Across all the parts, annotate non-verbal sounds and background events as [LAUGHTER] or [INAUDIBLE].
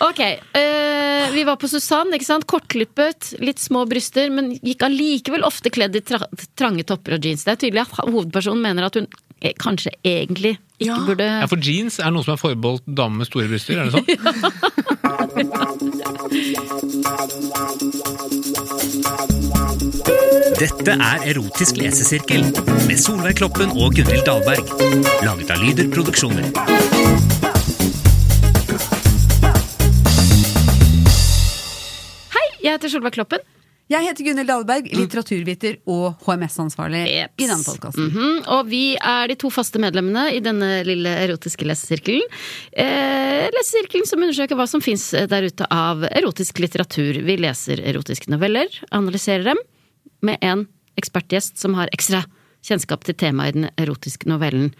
Ok, eh, vi var på Susann, ikke sant? Kortklippet, litt små bryster, men gikk allikevel ofte kledd i tra trange topper og jeans. Det er tydelig at hovedpersonen mener at hun eh, kanskje egentlig ikke Ja. burde Ja, For jeans er noe som er forbeholdt damer med store bryster, er [LAUGHS] det sånn? Dette er Erotisk lesesirkel med Solveig Kloppen og Gunhild Dahlberg. Laget av Lyder Produksjoner. Hei, jeg heter Solveig Kloppen. Jeg heter Gunhild Dahlberg, litteraturviter og HMS-ansvarlig Jeps. i denne Mm. podkasten. Mhm, Og vi er de to faste medlemmene i denne lille erotiske lesesirkelen. Eh, lesesirkelen som undersøker hva som fins der ute av erotisk litteratur. Vi leser erotiske noveller, analyserer dem, med en ekspertgjest som har ekstra kjennskap til temaet i den erotiske novellen.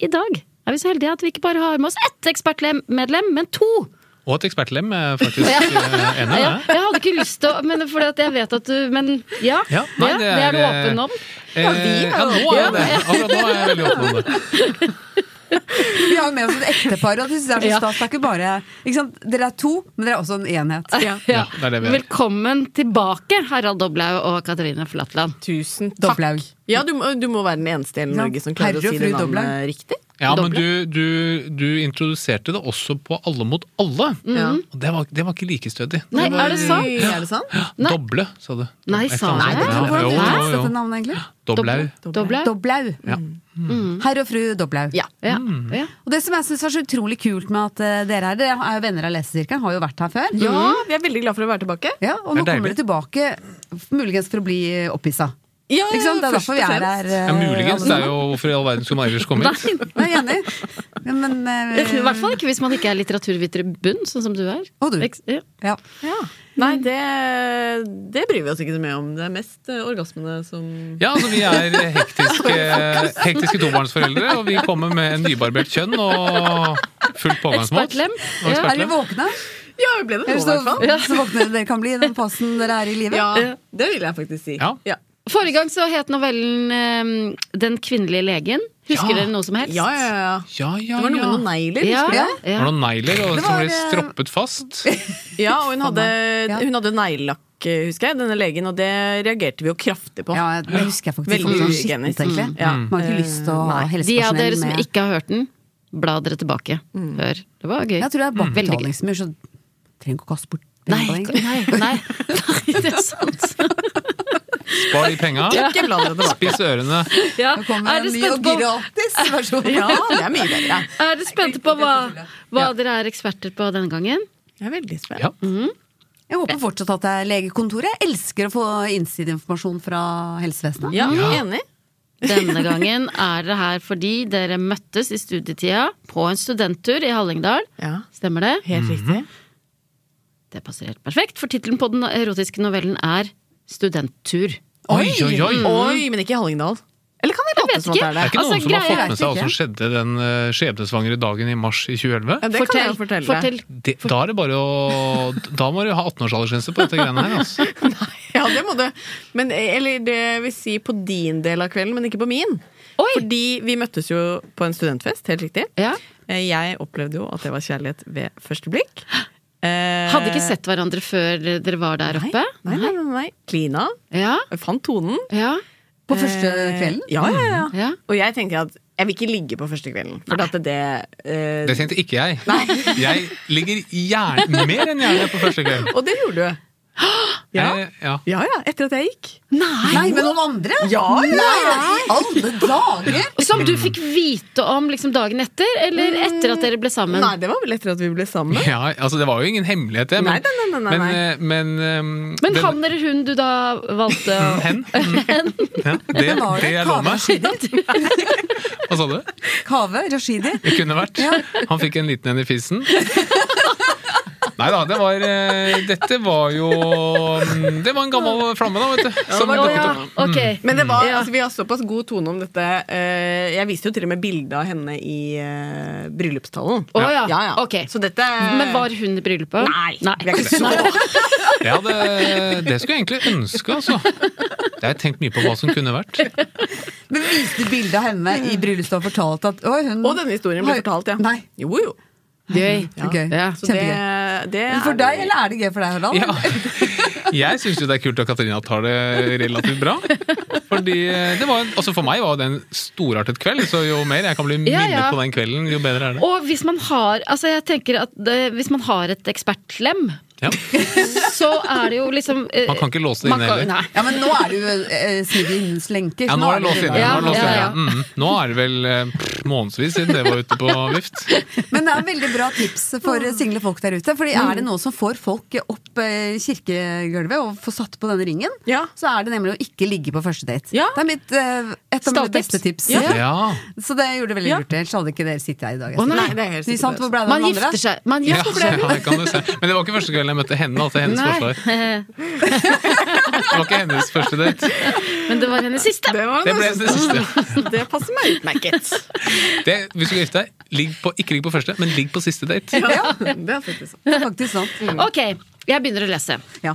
I dag er vi så heldige at vi ikke bare har med oss ett ekspertmedlem, men to! Og et ekspertlem er faktisk eh, enig. [LAUGHS] Ja, Ja. jeg hadde ikke lyst til å Men fordi at jeg vet at du Men ja, Ja, nei, ja, det det er du er, åpen om. Eh, Ja, nå er jeg det. Akkurat nå er jeg veldig åpen om [LAUGHS] det. Vi har jo med oss et ektepar, og det synes jeg er så Ja. stas. Det er ikke bare ikke sant? Dere er to, men dere er også en [LAUGHS] enhet. Ja, det er det vi er. Velkommen tilbake, Harald Doblaug og Katarina Flatland. Tusen takk. Doblaug. Ja, du, må- du må være den eneste i hele Ja. Norge som klarer Herre å og si fru det navnet Doblaug. riktig. Ja, men du, du, du introduserte det også på Alle mot alle. Og det var, det var ikke like stødig. Nei, er det sant? Oi, Er det sant? Nei. Doble, sa du. Nei, sa Nei, jeg? det Hvordan var- er jo, dette jo, jo. navnet, egentlig? Doblau. Doblaug? Doblaug. Ja. Herr og fru Doblaug. Mm. Ja. Ja. ja. Og det som jeg syns var så utrolig kult med at eh, dere er her, dere er jo venner av Lesesirkelen, har jo vært her før. Ja, vi er veldig glad for å være tilbake. Ja, og nå Det er kommer dere tilbake, muligens for å bli opphissa. Ja, Ikke sant? Det er først derfor vi og er fremst. her. Ja, eh, muligens. Det alle er sammen. jo hvorfor i all verden skulle man ellers komme hit? Nei, Jeg er enig. Ja, Men, eh, I hvert fall ikke hvis man ikke er litteraturviter i bunn, sånn som du er. Og du. Eks- ja. ja. Ja. Nei, det, Eh, det bryr vi oss ikke så mye om. Det er mest eh, orgasmene som Ja, altså vi er [LAUGHS] hektiske, hektiske tobarnsforeldre, og vi kommer med nybarbert kjønn og fullt pågangsmot. Ekspertlem. Ja. Og Er dere ekspertlem. våkne? Ja, vi ble det nå, Eller i så, hvert fall. så [LAUGHS] våkne dere kan bli i den fasen dere er i livet? Ja, det vil jeg faktisk si. Ja. ja. Forrige gang så het novellen ehm, Den kvinnelige legen. Husker Ja. dere noe som helst? Ja, ja, ja. Ja, ja, Det var noe med ja. noen negler. Ja, husker du det? ja. Det var noen negler og Det som var, ble eh, stroppet fast. Ja, og hun hadde, Ja. hun hadde neglelakk, eh, husker jeg, denne legen, og det reagerte vi jo kraftig på. Ja, det husker jeg faktisk. Veldig Sånn hygienisk. skittent, egentlig. Ja. Man har ikke lyst til å De ha av dere helsepersonell som med ikke har hørt den, bla dere tilbake. Hør. Det var gøy. Mm. Jeg tror det er Mm. Veldig gøy. bakbetalingsmur, så trenger ikke å kaste bort Nei, penger [LAUGHS] på det, egentlig. nei, nei, nei, det er sant. Spar de penga, Ikke bland dere tilbake. spiss ørene. Ja. Nå kommer Er en det ny spent og på gratis [LAUGHS] versjon. Ja, det er mye bedre. Er dere spente på hva, hva dere er eksperter på denne gangen? Jeg er veldig spent. Ja. Jeg håper fortsatt at det er legekontoret. Jeg elsker å få innsideinformasjon fra helsevesenet. Ja, enig. Denne gangen er dere her fordi dere møttes i studietida på en studenttur i Hallingdal. Ja, Stemmer det? helt riktig. Mhm. Det passer helt perfekt, for tittelen på den erotiske novellen er Studenttur. Oi, oi, oi! Oi, men ikke i Hallingdal. Eller kan jeg late vet som at det ikke. er Det det? er ikke Altså, noen som har greier fått er med seg ikke- hva som skjedde den eh, skjebnesvangre dagen i mars i 2011? Ja, det kan jeg jo fortelle. fortell. Det, da er det bare å Da må du ha 18-årsaldersgrense på dette greiene [LAUGHS] her, altså. Ja, det må du. Men, eller det vil si på din del av kvelden, men ikke på min. Oi! Fordi vi møttes jo på en studentfest, helt riktig. Ja. Eh, Jeg opplevde jo at det var kjærlighet ved første blikk. Eh, Hadde ikke sett hverandre før dere var der nei, oppe? Nei, nei, nei, nei. Klina. Ja, Jeg fant tonen. ja, På første Eh, kvelden. Ja, ja, ja. ja. Og jeg tenker at Jeg vil ikke ligge på første kvelden. For at det eh, Det tenkte ikke jeg. Jeg ligger gjerne, mer enn gjerne på første kveld. Og det gjorde du. Ja. Jeg, ja. ja ja, etter at jeg gikk. Nei, med noen andre? Ja, ja, Nei, i alle dager! Som du fikk vite om liksom dagen etter, eller etter at dere ble sammen? Mm. Nei, det var vel etter at vi ble sammen. ja, altså det var jo ingen hemmelighet, det. Nei, nei, nei, nei, nei. men, eh, men, eh, Men den- han eller hun du da valgte å Hen? Ja, det, Men var det det jeg lå Kaveh med. Rashidi? Hva sa du? Kaveh Rashidi? Det kunne vært. Han fikk en liten en i fissen. Nei da, det var eh, Dette var jo mm, Det var en gammel flamme, da, vet du. Som Å dukket ja, opp. ok. Men det var, Ja. altså, vi har såpass god tone om dette. eh, jeg viste jo til og med bilde av henne i eh, bryllupstallen. Å ja, Ja, ja. ok. Så dette Men var hun i bryllupet? Nei, vi er ikke [LAUGHS] så Ja, det, det skulle jeg egentlig ønske, altså. Det har jeg tenkt mye på hva som kunne vært. Men viste bildet av henne i bryllupet og fortalte at Oi, hun Og denne historien ble Har- fortalt, ja. Nei. Jo, jo. Gøy. Så Gøy. Ja. Så det, Kjempegøy. det er For deg, eller er det gøy for deg, Harald? Ja. Jeg syns jo det er kult at Katarina tar det relativt bra. Fordi det var, altså For meg var det en storartet kveld, så jo mer jeg kan bli minnet Ja, ja. på den kvelden, jo bedre er det. Og hvis man har altså jeg tenker at eh, hvis man har et ekspertlem, Ja. så er det jo liksom eh, Man kan ikke låse det man inne kan- heller. nei. Ja, men nå er du eh, smidig innens lenker. Ja, nå er det låst inne. Nå er det, låst Ja, inne. ja, ja. Mm, nå er det vel eh, pff, månedsvis siden det var ute på vift. Men det er veldig bra tips for single folk der ute. Fordi er Mm. det noe som får folk opp eh, kirkegulvet og får satt på denne ringen, Ja. så er det nemlig å ikke ligge på første date. Ja. Det er mitt, eh, et av mine Stalltips. beste tips. Ja. Så det gjorde veldig Ja. lurt. Ellers hadde ikke dere sittet her i dag. Å, nei. Nei, det er helt Ikke sant? sikkert. Hvor ble det av Man den andre? gifter seg. Man Ja, gifter så, seg. ja, det kan du se. Men det var ikke første kvelden jeg møtte henne. Altså [LAUGHS] hennes forslag. Nei. Det var ikke hennes første date. [LAUGHS] Men det var hennes siste. Det, var Det ble det siste. [LAUGHS] det passer meg utmerket. Det, hvis du skal gifte deg, ligg på, ikke ligg på første, men ligg på siste date. Ja, det er faktisk sant. Det er faktisk Mm. sant. Ok, jeg begynner å lese. Ja.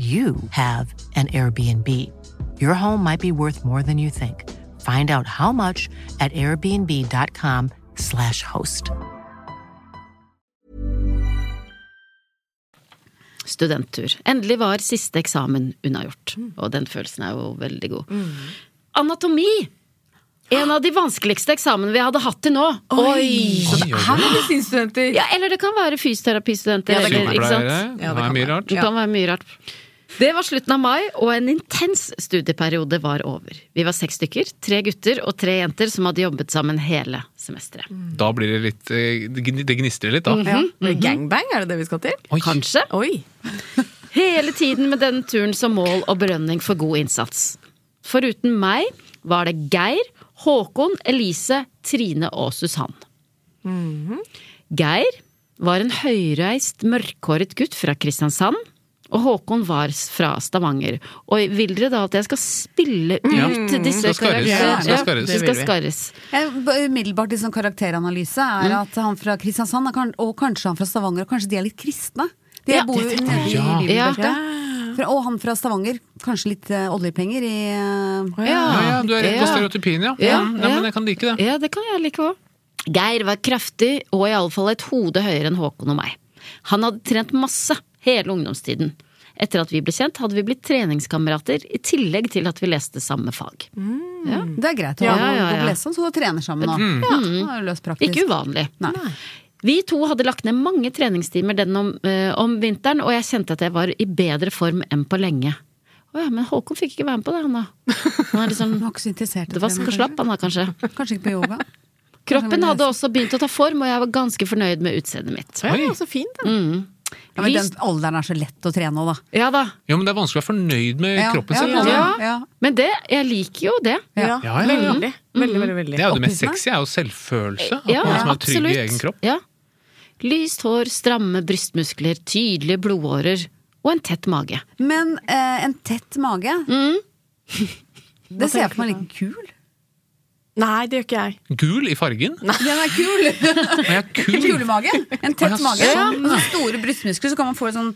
you have an Airbnb. Your home might be worth more than you think. Find out how much at airbnb.com/slash host. Studenttur. Endelig var siste eksamen unnagjort. Og den følelsen er jo veldig god. Mm. Anatomi! En av de vanskeligste eksamene vi hadde hatt til nå. Oi! Oi, oi, oi. Medisinstudenter. Ja, eller det kan være fysioterapistudenter. Ja, det kan eller, ikke sant? Sykepleiere. Ja, det kan Det er mye være. rart. Det kan være mye rart. Det var slutten av mai, og en intens studieperiode var over. Vi var seks stykker, tre gutter og tre jenter som hadde jobbet sammen hele semesteret. Da blir det litt eh, Det gn- det gnistrer litt, da. Ja. Mm-hmm. Gangbang, er det det vi skal til? Oi. Kanskje? Oi. Hele tiden med denne turen som mål og belønning for god innsats. Foruten meg var det Geir, Håkon, Elise, Trine og Susann. Geir var en høyreist, mørkhåret gutt fra Kristiansand. Og Håkon var s- fra Stavanger. Og vil dere da at jeg skal spille ut disse Mm. Skal skarres. karakterene? Skal Ja, skarres. det Det skal vil vi. skarres. Jeg, b- umiddelbart liksom karakteranalyse er Mm. at han fra Kristiansand er kan- og kanskje han fra Stavanger, og kanskje de er litt kristne. De Ja, bor jo det nede i Ja. Lybeltet. Ja. Fra- Og han fra Stavanger, kanskje litt eh, oljepenger i eh, Ja, ja, du er rett på Ja. stereotypien, ja. Ja, Mm, ja. nei, Men jeg kan like det. Ja, det kan jeg like òg. Geir var kraftig og iallfall et hode høyere enn Håkon og meg. Han hadde trent masse hele ungdomstiden. Etter at vi ble kjent, hadde vi blitt treningskamerater i tillegg til at vi leste samme fag. Det er greit å Ja, ha noen ja, ja. å lese om, så du trener sammen òg. Ja, det er løst praktisk. Ikke uvanlig. Nei. Vi to hadde lagt ned mange treningstimer den om, eh, om vinteren, og jeg kjente at jeg var i bedre form enn på lenge. Og Å ja, men Håkon fikk ikke være med på det, han da. Han er [LAUGHS] liksom Han var ikke så interessert. i dvask og kanskje. slapp, han da, kanskje. Kanskje ikke på yoga. Kroppen hadde også begynt å ta form, og jeg var ganske fornøyd med utseendet mitt. Ja, så fint, da. ja, men Lyst- den alderen er så lett å trene òg, da. Ja da. Jo, men det er vanskelig å være fornøyd med Ja, kroppen ja, sin. ja, altså. ja. Men det, jeg liker jo det. Ja, Ja, ja, ja. Veldig, veldig, veldig. veldig. Det er jo det mest sexy, er jo selvfølelse. At Ja, man som er trygg absolutt. i egen kropp. Ja. Lyst hår, stramme brystmuskler, tydelige blodårer og en tett mage. Men eh, en tett mage [LAUGHS] Det ser jeg for meg litt kul. Nei, det gjør ikke jeg. Gul i fargen. Den er kul! [LAUGHS] Men jeg er kul. Kulemage. En tett Å, ja, mage. sånn. Og så store brystmuskler, så kan man få en sånn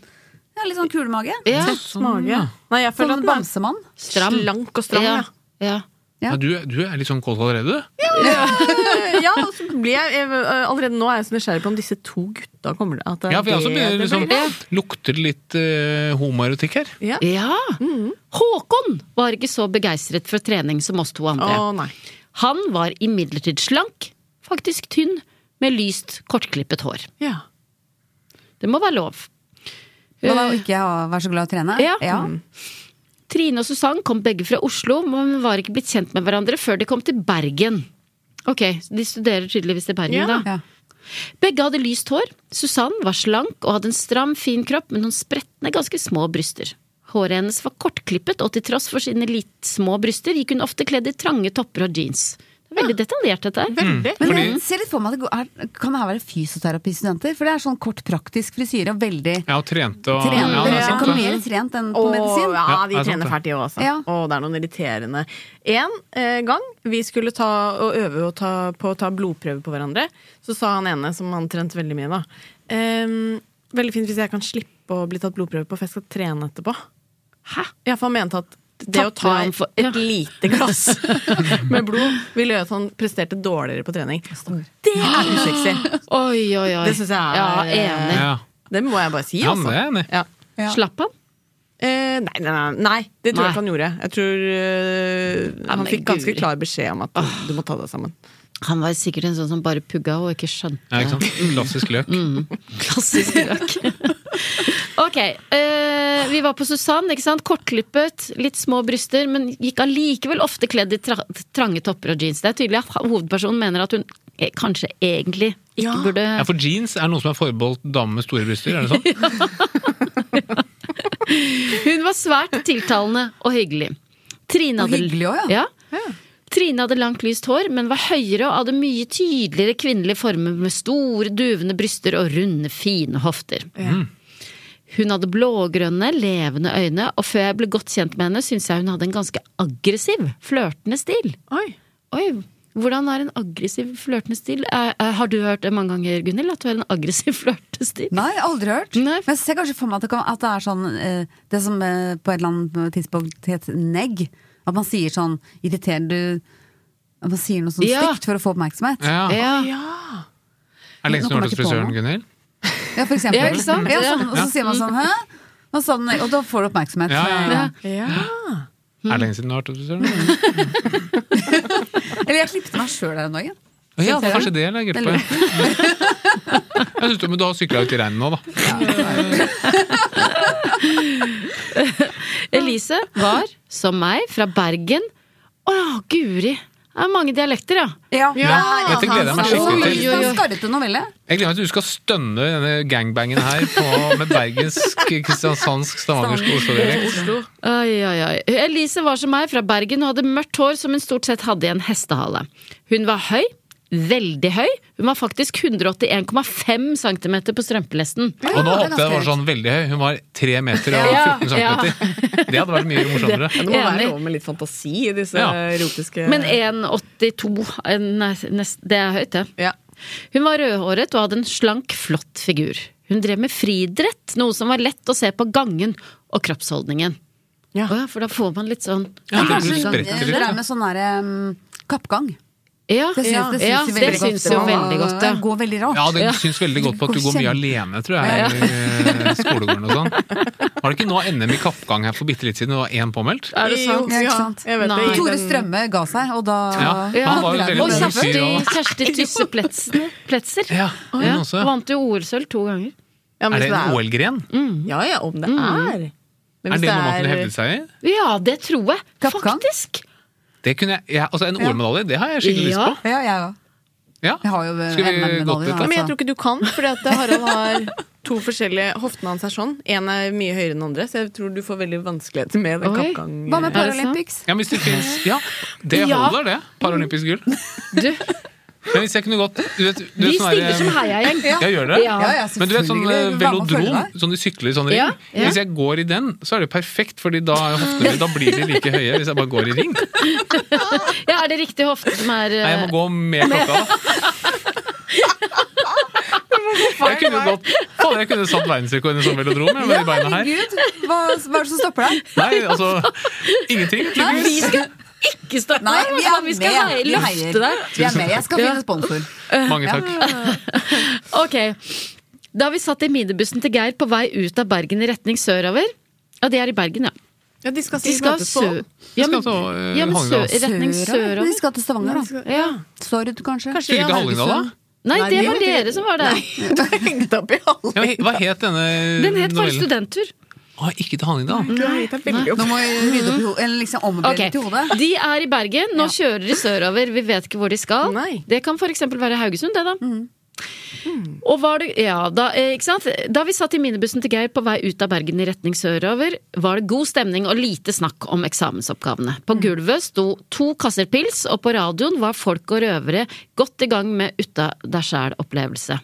ja, litt sånn kulemage. Ja, Ah. Sånn, Mage. Nei, jeg Som føler en at bare bamsemann. stram. slank og stram. ja. Ja. [LAUGHS] ja. Ja. Ja, du, du er litt sånn kåt allerede, du. Eh, ja, og så blir jeg, jeg Allerede nå er jeg så nysgjerrig på om disse to gutta kommer til at eh, Ja, for jeg også det- begynner det liksom blir- Lukter litt eh, homoerotikk her. Ja. Ja! Håkon var ikke så begeistret for trening som oss to andre. Å, nei. Han var imidlertid slank, faktisk tynn, med lyst, kortklippet hår. Ja. Det må være lov. Eh, Man er jo ikke å være så glad i å trene. Ja. Trine og Susann kom begge fra Oslo, men var ikke blitt kjent med hverandre før de kom til Bergen. Ok, så De studerer tydeligvis i Bergen, Ja. da. Ja. Begge hadde lyst hår. Susann var slank og hadde en stram, fin kropp med noen spretne, ganske små bryster. Håret hennes var kortklippet, og til tross for sine litt små bryster gikk hun ofte kledd i trange topper og jeans. Det er veldig detaljert, dette her. Veldig. Mm. Men Fordi- jeg ser litt for meg at det går- er, kan det her være fysioterapistudenter? For det er sånn kort, praktisk frisyre og veldig Ja, og trente og trent. ja, det er Dere sant, kan det. mer trent enn på Og, medisin. ja, Ja, de det er sant, trener det. fælt, de òg, altså. Ja. Og det er noen irriterende. En eh, gang vi skulle ta og øve og ta, på å ta blodprøver på hverandre, så sa han ene, som han trente veldig mye, da ehm, Veldig fint hvis jeg kan slippe å bli tatt blodprøve på, for jeg skal trene etterpå. Hæ? Ja, for han mente at det Tapper å ta han et, for- ja. et lite glass [LAUGHS] med blod ville gjøre at han presterte dårligere på trening. Og det er usexy! Oi, oi, oi. Det synes jeg er- Ja, enig. Ja. Det må jeg bare si, Ja, men altså. det er jeg enig i. Ja. Ja. eh, Slapp han? Eh, nei, nei, nei, nei, det tror Nei. jeg ikke han gjorde. Jeg tror eh, Ja, Han men fikk ganske guri. klar beskjed om at du må ta deg sammen. Han var sikkert en sånn som bare pugga og ikke skjønte Ja, ikke sant? Mm, Klassisk løk. Mm. Klassisk løk. ok. eh, vi var på Susann. ikke sant? Kortklippet, litt små bryster, men gikk allikevel ofte kledd i tra trange topper og jeans. Det er tydelig at hovedpersonen mener at hun eh, kanskje egentlig ikke Ja. burde Ja, For jeans er noe som er forbeholdt damer med store bryster, er det sånn? Hun var svært tiltalende og hyggelig. Trine Og hadde, hyggelig også, ja. Trine hadde langt, lyst hår, men var høyere og hadde mye tydeligere kvinnelige former med store, duvende bryster og runde, fine hofter. Hun hadde blågrønne, levende øyne, og før jeg ble godt kjent med henne, syntes jeg hun hadde en ganske aggressiv, flørtende stil. Oi. Oi, hvordan er en aggressiv, flørtende stil? Eh, eh, har du hørt det mange ganger, Gunhild, at du har en aggressiv, [LAUGHS] flørtende stil? Nei, aldri hørt. Nei. Men jeg ser kanskje for meg at det, kan, at det er sånn eh, Det som eh, på et eller annet tidspunkt het negg. At man sier sånn irriterende du at Man sier noe sånn Ja. stygt for å få oppmerksomhet. [LAUGHS] Ja, Ja. Er Ja. det lenge siden du har Nå kommer vært hos jeg ikke på frisøren, noe. Gunhild? for eksempel. Ja, ikke sant? Ja, sånn, og så sier man sånn hæ? Og, sånn, og da får du oppmerksomhet. Ja, ja, ja. Ja. Er Mm. det lenge siden du har vært hos frisøren? Eller jeg klippet meg sjøl her en dag. Ja, det er kanskje det eller gruppe. Jeg Mm. synes du, men du har sykla ut i regnet nå, da. Elise var, som meg, fra Bergen. Å ja, guri! Det er mange dialekter, ja. Ja. Ja, dette gleder jeg meg skikkelig til. Oi, oi, oi. Skarrete novelle. Jeg gleder meg til du skal stønne i denne gangbangen her på, med bergensk, kristiansandsk, stavangersk og oslo-dialekt. Oi, oi, oi. Elise var som meg, fra Bergen, og hadde mørkt hår som hun stort sett hadde i en hestehale. Hun var høy. Veldig høy. Hun var faktisk 181,5 cm på strømpelesten. Og nå håpet jeg det var sånn veldig høy. Hun var 3 meter og Ja, 14 cm. Det hadde vært mye morsommere. Det må Enig. være lov med litt fantasi i disse Ja. erotiske Men 1,82 eh, nei, nest- Det er høyt, det. ja. Hun var rødhåret og hadde en slank, flott figur. Hun drev med friidrett, noe som var lett å se på gangen og kroppsholdningen. Ja. Å ja, for da får man litt sånn Ja, det Kanskje spretter eh, litt, det ja. er med sånn derre um, kappgang. Ja, Det syns, ja, det syns ja, de det veldig godt syns jo om. veldig godt. Det går veldig rart. Ja, det syns veldig godt på at du går mye alene, tror jeg, i skolegården og sånn. Var det ikke nå NM i kappgang her for bitte litt siden, og det var én påmeldt? Er det sant? Ja, ikke sant? jeg vet Nei. det. Tore Strømme ga seg, og da Ja, Ja. han var jo Og veldig Og ung kjempe- fyr Kjersti, og Kjersti Tysse Pletsen- Pletzer. Ja, hun Ja, også. Vant jo OL-sølv to ganger. Ja, men Er det så en OL-gren? Ja ja, om det er. Men Er hvis det noe man kunne det hevde er seg i? Ja, det tror jeg. Kappgang? Faktisk. Det kunne jeg, jeg, altså En OL-medalje, det har jeg skikkelig Ja. lyst på. Ja, jeg òg. Ja. Jeg har jo Skulle vi NM-medalje, gått da, ut altså. Men jeg tror ikke du kan, for Harald har to forskjellige Hoftene hans er sånn. Én er mye høyere enn andre, så jeg tror du får veldig vanskeligheter med den Oi. kappgang. Hva Er det sant? med Paralympics? Ja, hvis det finnes Ja, det Ja. holder, det. Paralympisk gull. Du, Men hvis jeg kunne gått du vet, du vi vet, sånn stiller der, som heiagjeng. Jeg gjør det? Ja. Ja, ja, Men du vet sånn eh, selvfølgelig. Hva med å følge velodrom, deg? sånn du sykler i sånn ring. Ja, ja. Hvis jeg går i den, så er det perfekt, Fordi da, er hoftene, mine- da blir de like høye hvis jeg bare går i ring. Nei, Ja, er det riktig hofte som er eh, jeg må gå med klokka. Jeg kunne jo gått Fader, jeg kunne satt verdensrekord i en sånn velodrom jeg, med de beina her. Herregud, hva, hva er det som stopper deg? Nei, altså Ingenting. Vi tydeligvis. skal ikke starte Nei, der, vi men er vi skal med. hei- Vi heier. løfte deg. Vi er med. Jeg skal finne sponsor. Mange takk. Ok. Da vi satt i minibussen til Geir på vei ut av Bergen i retning sørover Ja, de er i Bergen, ja. Ja, de skal, De skal møtes sø... på Ja, men, skal til, eh, ja, men sø, Hallingdal. i retning Men sørover. de skal til Stavanger, da. Ja. Sorud, kanskje? Kanskje Skulle de ikke har Hallingdal, da? Nei, Nei, det de- var dere som var der. Haugesund hengt opp i Hallingdal. Ja, hva het denne Den het Mm. bare novellen? Studenttur. Ah, ikke til Hallingdal. Det er veldig Nå må vi rydde opp i hodet, eller liksom ommøblere Ok, litt i hodet. De er i Bergen. Nå kjører de sørover. Vi vet ikke hvor de skal. Nei. Mm. Det kan f.eks. være Haugesund, det, da. Mm. Og var det, ja, da, eh, ikke sant? da vi satt i minibussen til Geir på vei ut av Bergen i retning sørover, var det god stemning og lite snakk om eksamensoppgavene. Mm. På gulvet sto to kasser pils, og på radioen var folk og røvere godt i gang med uta deg sjæl-opplevelse.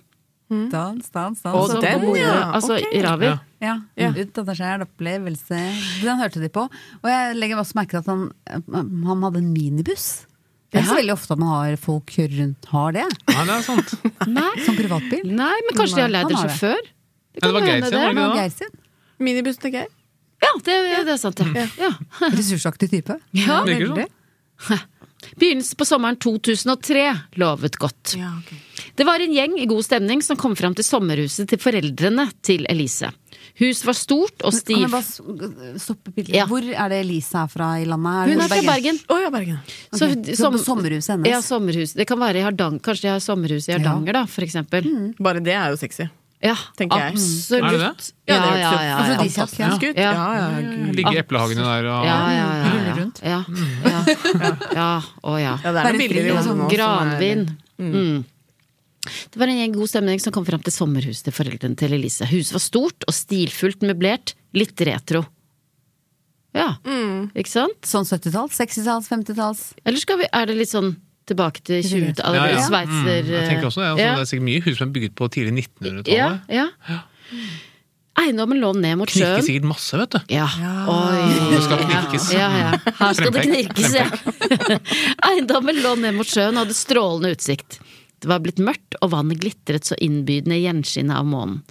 Mm. Dans, dans, dans. Og Så- den, ja. Altså Ok. ravi. Ja. Ut av deg sjæl, opplevelse. Den hørte de på. Og jeg legger også merke til at han, eh, han hadde en minibuss. Det er ikke så veldig ofte at man har folk rundt har det, Nei, det er sant. Nei. [LAUGHS] som privatbil. Nei, men kanskje de har Nei, leid han en har det. sjåfør? Ja, det var Geir sin, var det Det Ja. var Geir sin. Minibussen til Geir. Ja, det, det er sant, ja. ja. Ressursaktig type. [LAUGHS] Ja, Virker sånn. veldig. Begynnelsen på sommeren 2003 lovet godt. Det var en gjeng i god stemning som kom fram til sommerhuset til foreldrene til Elise. Huset var stort og Kan jeg stivt. bare s- stoppe bildet? Ja. Hvor er det Elisa er fra i landet? Hun det er fra Bergen. Å ja, Bergen. Så Ok, hun- så på sommerhuset hennes. Ja, sommerhus. Det kan være i Hardanger. Kanskje de har sommerhus i Hardanger, da, for eksempel. Bare det er jo sexy. Ja, Mm. Tenker jeg. absolutt. Er det det? Ja, ja, det ja. hørtes jo Altså, ja, ja. Afrodisiak, ja. fantastisk ut. Ja. Ja, ja, gud. Ligge i eplehagene der Ja, og ja, ja, ja. ja, ja, ja. ja. Å ja. ja, det er noe bilder i Bare hodet nå. som er- sånn Granvin. Mm. Det var en gjeng god stemning som kom fram til sommerhuset til foreldrene til Elise. Huset var stort og stilfullt møblert. Litt retro. Ja, Mm. ikke sant? Sånn 70-talls, 60-talls, 50-talls. Eller skal vi, er det litt sånn tilbake til 20-tallet? Ja, ja. Sveitser... Mm, jeg tenker også det. Altså, Det er sikkert mye hus som er bygget på tidlig 1900-tallet. ja, ja. Eiendommen lå ned mot Knirker sjøen. sikkert masse, vet du. Ja. Oi. Det skal knirkes. Ja, ja. Her skal det Frempek. knirkes, ja. Eiendommen lå ned mot sjøen og hadde strålende utsikt. Det var blitt mørkt, og vannet glitret så innbydende i gjenskinnet av månen.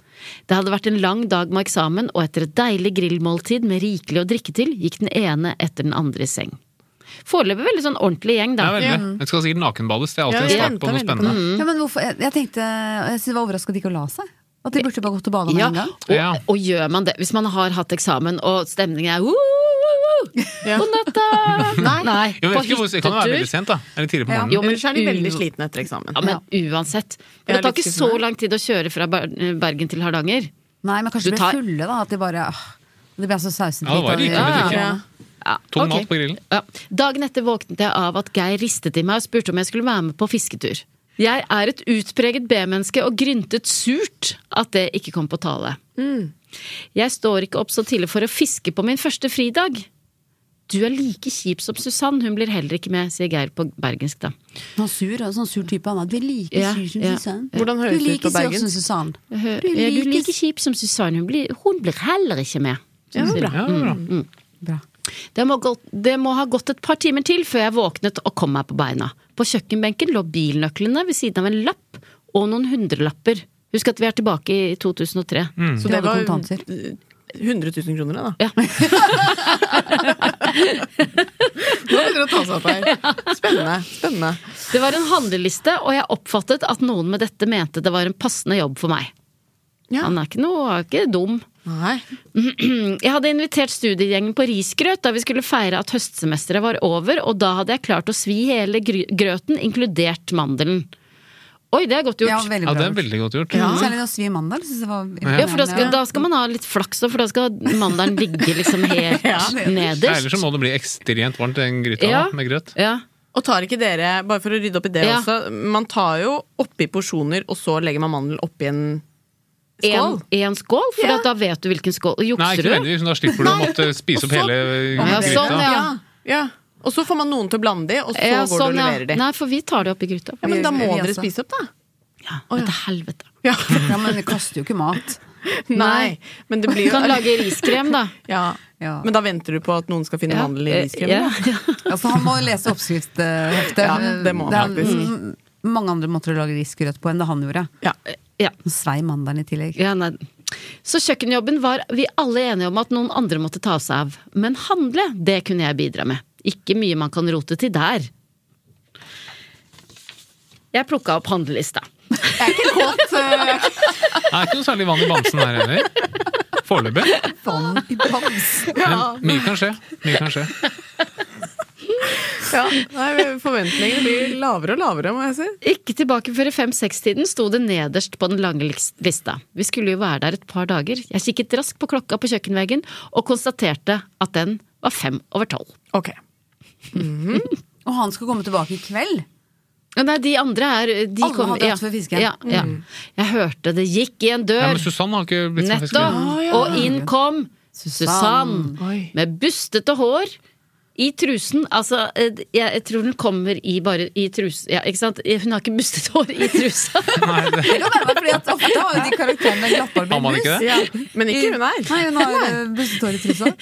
Det hadde vært en lang dag med eksamen, og etter et deilig grillmåltid med rikelig å drikke til, gikk den ene etter den andre i seng. Foreløpig veldig sånn ordentlig gjeng, Det da. er veldig. Det skal sikkert nakenbades. Det er alltid Ja, jeg en start på noe venter veldig på spennende. Mm. Ja, men hvorfor, jeg, jeg tenkte, jeg synes det var overrasket at de ikke la seg. At de burde bare gått og bada med Ja, en gang. og, Ja. og gjør man det hvis man har hatt eksamen og stemningen er "Woo, woo, woo, God natta! Nei, Jo, på jeg vet ikke, hvor- det kan jo være veldig hyttetur. sent, da. Eller tidlig på Ja. morgenen. men Ellers er de veldig u- slitne etter eksamen. Ja, men uansett. Jeg For er det tar litt ikke så skuffende. lang tid å kjøre fra Ber- Bergen til Hardanger. Nei, men kanskje Du de ble tar- fulle, da. At de bare åh, De ble altså så sauset Ja, det var litt rikelig over- med Ja, drikke. ja. Tung Ok. mat på grillen. Ja. Dagen etter våknet jeg av at Geir ristet i meg og spurte om jeg skulle være med på fisketur. Jeg er et utpreget B-menneske og gryntet surt at det ikke kom på tale. Mm. Jeg står ikke opp så tidlig for å fiske på min første fridag. Du er like kjip som Susann, hun blir heller ikke med, sier Geir på bergensk, da. Han er sur, sånn sur type han er. Du er like Ja, sur som ja. Susann. Hvordan høres du det ut på like sur Bergen? som Susann. Du Ja, Du er like kjip som Susann, hun blir, hun blir heller ikke med. Ja, det er bra. Ja, det er bra. Bra. Det må, gå- det må ha gått et par timer til før jeg våknet og kom meg på beina. På kjøkkenbenken lå bilnøklene ved siden av en lapp og noen hundrelapper. Husk at vi er tilbake i 2003. Så De det hadde var kontanter. 100 000 kroner, da. [LAUGHS] Ja. Nå begynner det å ta seg [LAUGHS] opp her. Spennende. spennende. Det var en handleliste, og jeg oppfattet at noen med dette mente det var en passende jobb for meg. Ja. Han er ikke noe, han er ikke dum. Nei. Jeg hadde invitert studiegjengen på risgrøt da vi skulle feire at høstsemesteret var over, og da hadde jeg klart å svi hele gry- grøten, inkludert mandelen. Oi, det er godt Ja, gjort. veldig Ja, bra. det er veldig godt gjort. Mm, Særlig da Svi Mandal. Synes jeg var Ja, for da skal, imponerende. da skal man ha litt flaks, og for da skal mandelen ligge liksom [LAUGHS] helt Nei, Ellers nederst. så må det bli ekstremt varmt i den gryta Ja. da, med grøt. Ja. Og tar ikke dere, bare for å rydde opp i det Ja. også, man tar jo oppi porsjoner, og så legger man mandel oppi en skål. En, en skål, for Ja. at da vet du hvilken skål. Og Nei, Jukser ikke du? nødvendigvis, men da slipper du å måtte spise opp Og så- hele eh, Ja, gryta. sånn, ja. Ja. Og så får man noen til å blande de, og så Ja, går sånn, du og ja. leverer de. Nei, altså. for vi tar det opp i gryta. Ja, men da må Vi dere også. spise opp, [LAUGHS] da. Ja, men til helvete. Ja. Ja, men det kaster jo ikke mat. [LAUGHS] Nei, men det blir Du jo [LAUGHS] kan lage riskrem, da. ja. Ja. Men da venter du på at noen skal finne Ja. Eh, mandel i riskremen? Ja, [LAUGHS] da? ja. Ja, for Altså, han må lese oppskriftsheftet. Ja, det må han er m- mange andre måter å lage risgrøt på enn det han gjorde. Ja. Ja. Svei mandelen i tillegg. Ja, nei. Så kjøkkenjobben var vi alle enige om at noen andre måtte ta seg av. Men handle, det kunne jeg bidra med. Ikke mye man kan rote til der. Jeg plukka opp handlelista. [LAUGHS] eh, Det er ikke noe særlig vann i bamsen her heller. Foreløpig. Vann i bamsen! Men mye kan skje. Mye kan skje. Ja. Nei, forventningene blir lavere og lavere, må jeg si. Ikke tilbake før i fem-seks-tiden sto det nederst på den lange liks- lista. Vi skulle jo være der et par dager. Jeg kikket raskt på klokka på kjøkkenveggen og konstaterte at den var fem over tolv. Ok. Mhm. Og han skal komme tilbake i kveld. Ja, Nei, de andre er de Alle kom- hadde hatt for fiske. Ja, ja. Jeg hørte det gikk i en dør. Ja, men Susann har ikke blitt sånn Nettopp! fisker. Og inn kom Susann. Susann. Ah, Oi. Med bustete hår. I trusen. Altså, eh, jeg, jeg tror den kommer i bare i trus... Ja, ikke sant? Eh, Hun har ikke bustet hår i trusa. [LAUGHS] Nei, det, Det kan være fordi at ofte har jo de karakterene har man ikke glattbarberbus. det? Ja. Men ikke hun her. Nei, hun har eh, busset hår i trusa.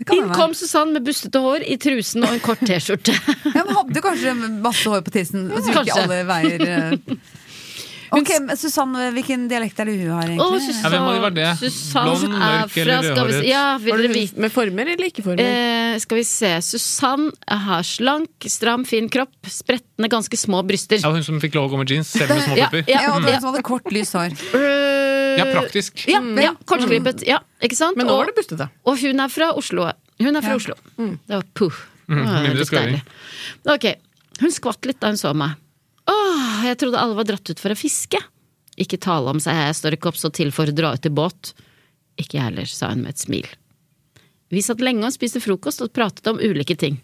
Det kan Inn være. kom Susann med bustete hår i trusen og en kort [LAUGHS] T-skjorte. Ja, men hadde kanskje masse hår på tissen. Og så gikk Kanskje. alle veier eh. Ok, men Susann, hvilken dialekt er det hun har, Å, egentlig? Susann, hvem må det være det? Blond, er mørk eller fra- skal vi se- rødhåret? Ja, vil dere vite? Med former eller ikke former? Eh, skal vi se. Susann har slank, stram, fin kropp, spretne, ganske små bryster. Ja, hun som fikk lov å gå med jeans, selv med små Ja, pupper. Ja, og ja. den som hadde kort, lyst hår. Ja, praktisk. Ja, ja kortklippet. Ja, ikke sant? Men nå Og- var det bustete. Og hun er fra Oslo. Hun er fra Oslo. Mm. Det var puh. Det var mindre litt skøying. deilig. Ok, Hun skvatt litt da hun så meg. Åh, jeg trodde alle var dratt ut for å fiske. Ikke tale om seg, jeg står ikke opp så til for å dra ut i båt. Ikke jeg heller, sa hun med et smil. Vi satt lenge og spiste frokost og pratet om ulike ting.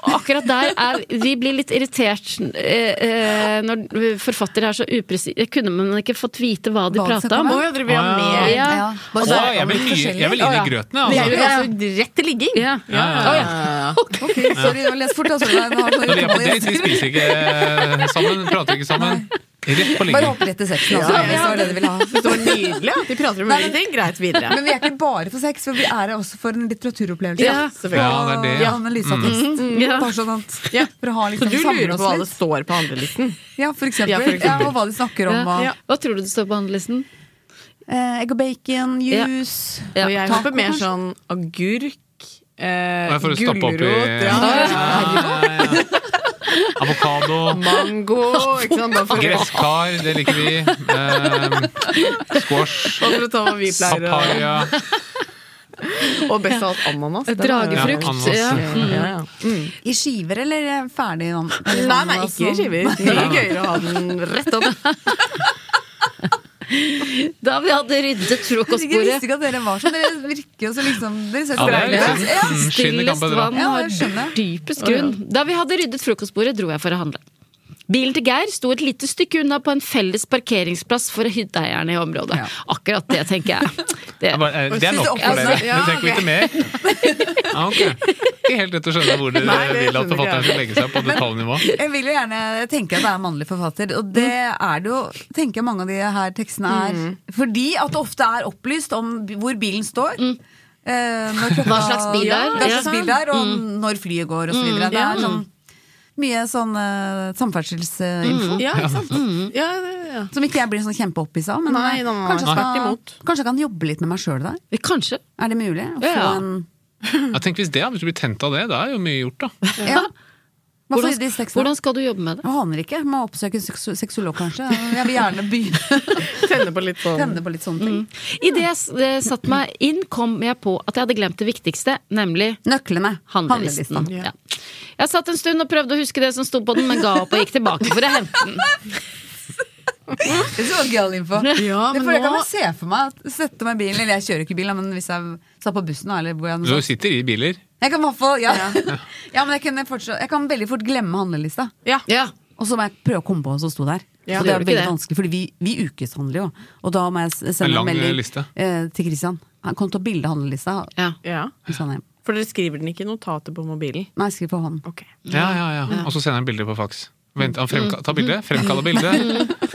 Og akkurat der er Vi blir litt irritert eh, eh, når forfattere er så upresise. Kunne man ikke fått vite hva de Hva det skal prata om? komme? Å ja, dere vil ha Ah, mer? Ja. Ja, Å, bare så- jeg, vil mye, jeg vil inn i grøten, jeg. Jeg Altså. vil altså rett til ligging. Ja. Ja, ja, ja. Ok, sorry, jeg leste fort. Altså. Nei, nå har jeg sånn Når vi er på utholdenhet. date, vi spiser ikke eh, [LAUGHS] sammen, prater ikke sammen. Rett på Bare ligging. hopp rett til sexen, altså, Ja, hvis det var det du ville ha. Det var nydelig at de prater om Nei, ulike men- ting. Greit, videre. Men vi er ikke bare for sex, for vi er her også for en litteraturopplevelse. Ja, Ja, selvfølgelig. det er det. Og Ja. analyse av tekst. ja. Bare sånn at Mm. Ja. For å ha Så liksom du samle lurer på oss hva litt. det står på handlelisten? Ja, for eksempel. Ja, Ja, for eksempel. og hva de snakker om. Og, Ja. Hva tror du det står på handlelisten? eh, egg og bacon, Ja. juice Ja. Og jeg Taco, håper mer kanskje? sånn agurk, eh, Bare for å stoppe opp i- gulrot, ja, Eh, Avokado, mango ikke sant? Bare for, å- gresskar, det liker vi. Ehm, squash, bare for å ta hva vi pleier å papaya. Og best av alt ananas. den er- Ja, Dragefrukt. ananas. Ja. Ja, ja. I skiver, eller er jeg ferdig? nå? Eller Nei, nei, ananas ikke og- skiver. Mye gøyere å ha den rett opp. Da vi hadde ryddet Jeg visste frokostbordet, ikke at dere var sånn. Dere virker jo så liksom Dere ser Ja, det er litt streile ut. Ja, sånn skinnet kan stillest bedra. vann Ja, har jeg skjønner. dypest grunn. Da vi hadde ryddet frokostbordet, dro jeg for å handle. Bilen til Geir sto et lite stykke unna på en felles parkeringsplass for hytteeierne i området. Ja. Akkurat det, tenker jeg. Det, Jeg bare, eh, Det er nok for dere. Ja, Du trenger ikke mer? [LAUGHS] Ja, ok. Ikke helt lett å skjønne hvor dere Nei, det vil at skjønner forfatteren jeg. skal legge seg på detaljnivå. Jeg vil jo gjerne tenke at det er mannlig forfatter, og det Mm. er det jo, tenker jeg mange av de her tekstene er. Fordi at det ofte er opplyst om b- hvor bilen står. eh, når klokka- Mm. Hva slags bil det er. Hva Ja. Mm. slags bil det er, og når flyet går, og så videre. Det er sånn mye sånn eh, Mm. [LAUGHS] samferdselsinfo. Ja, ikke sant? Ja, det- ja. Som ikke jeg blir sånn kjempeoppissa av, men Nei, nei, eh, nei, kanskje, jeg tvert skal, imot. kanskje jeg kan jobbe litt med meg sjøl der. Kanskje. Er det mulig? Å Ja, få ja. en, Ja, tenk hvis det, hvis du blir tent av det, da er jo mye gjort, da. ja. Hva får Hvordan, vi i de tekstene? hvordan skal du jobbe med det? Jeg aner ikke. Må oppsøke en seksu- sexolog, kanskje. Jeg vil gjerne begynne [LAUGHS] Tenne på litt sånn å tenne på litt sånne ting. Idet Mm. jeg s- eh, satte meg inn, kom jeg på at jeg hadde glemt det viktigste, nemlig Nøklene. Handlelisten. Handlelista. [LAUGHS] Ja. Jeg satt en stund og prøvde å huske det som sto på den, men ga opp og gikk tilbake for å hente den. Det var gøy info. Ja, det men for det kan nå- jeg se for meg at sette meg i bilen, eller jeg kjører ikke bil, da, men hvis jeg satt på bussen da, eller hvor jeg, Så du sitter i biler. jeg kan i hvert fall, ja. [LAUGHS] ja, men jeg kan, fortsatt, jeg kan veldig fort glemme handlelista. Ja. Ja. Og så må jeg prøve å komme på hva som sto der. Ja. og det Gjør er du ikke veldig det? vanskelig, fordi vi, vi ukeshandler jo. Og da må jeg s- En sende lang, en melding eh, liste. eh, til Christian. Han kom til å bilde handlelista. Ja. Ja. Hvis han er hjemme. For dere skriver den ikke i notater på mobilen. Nei, skriv på hånden. Ok. Ja, ja, ja. Og så sender han bilder på fax. Vent, han fremka ta bilde, fremkaller bilde. [LAUGHS]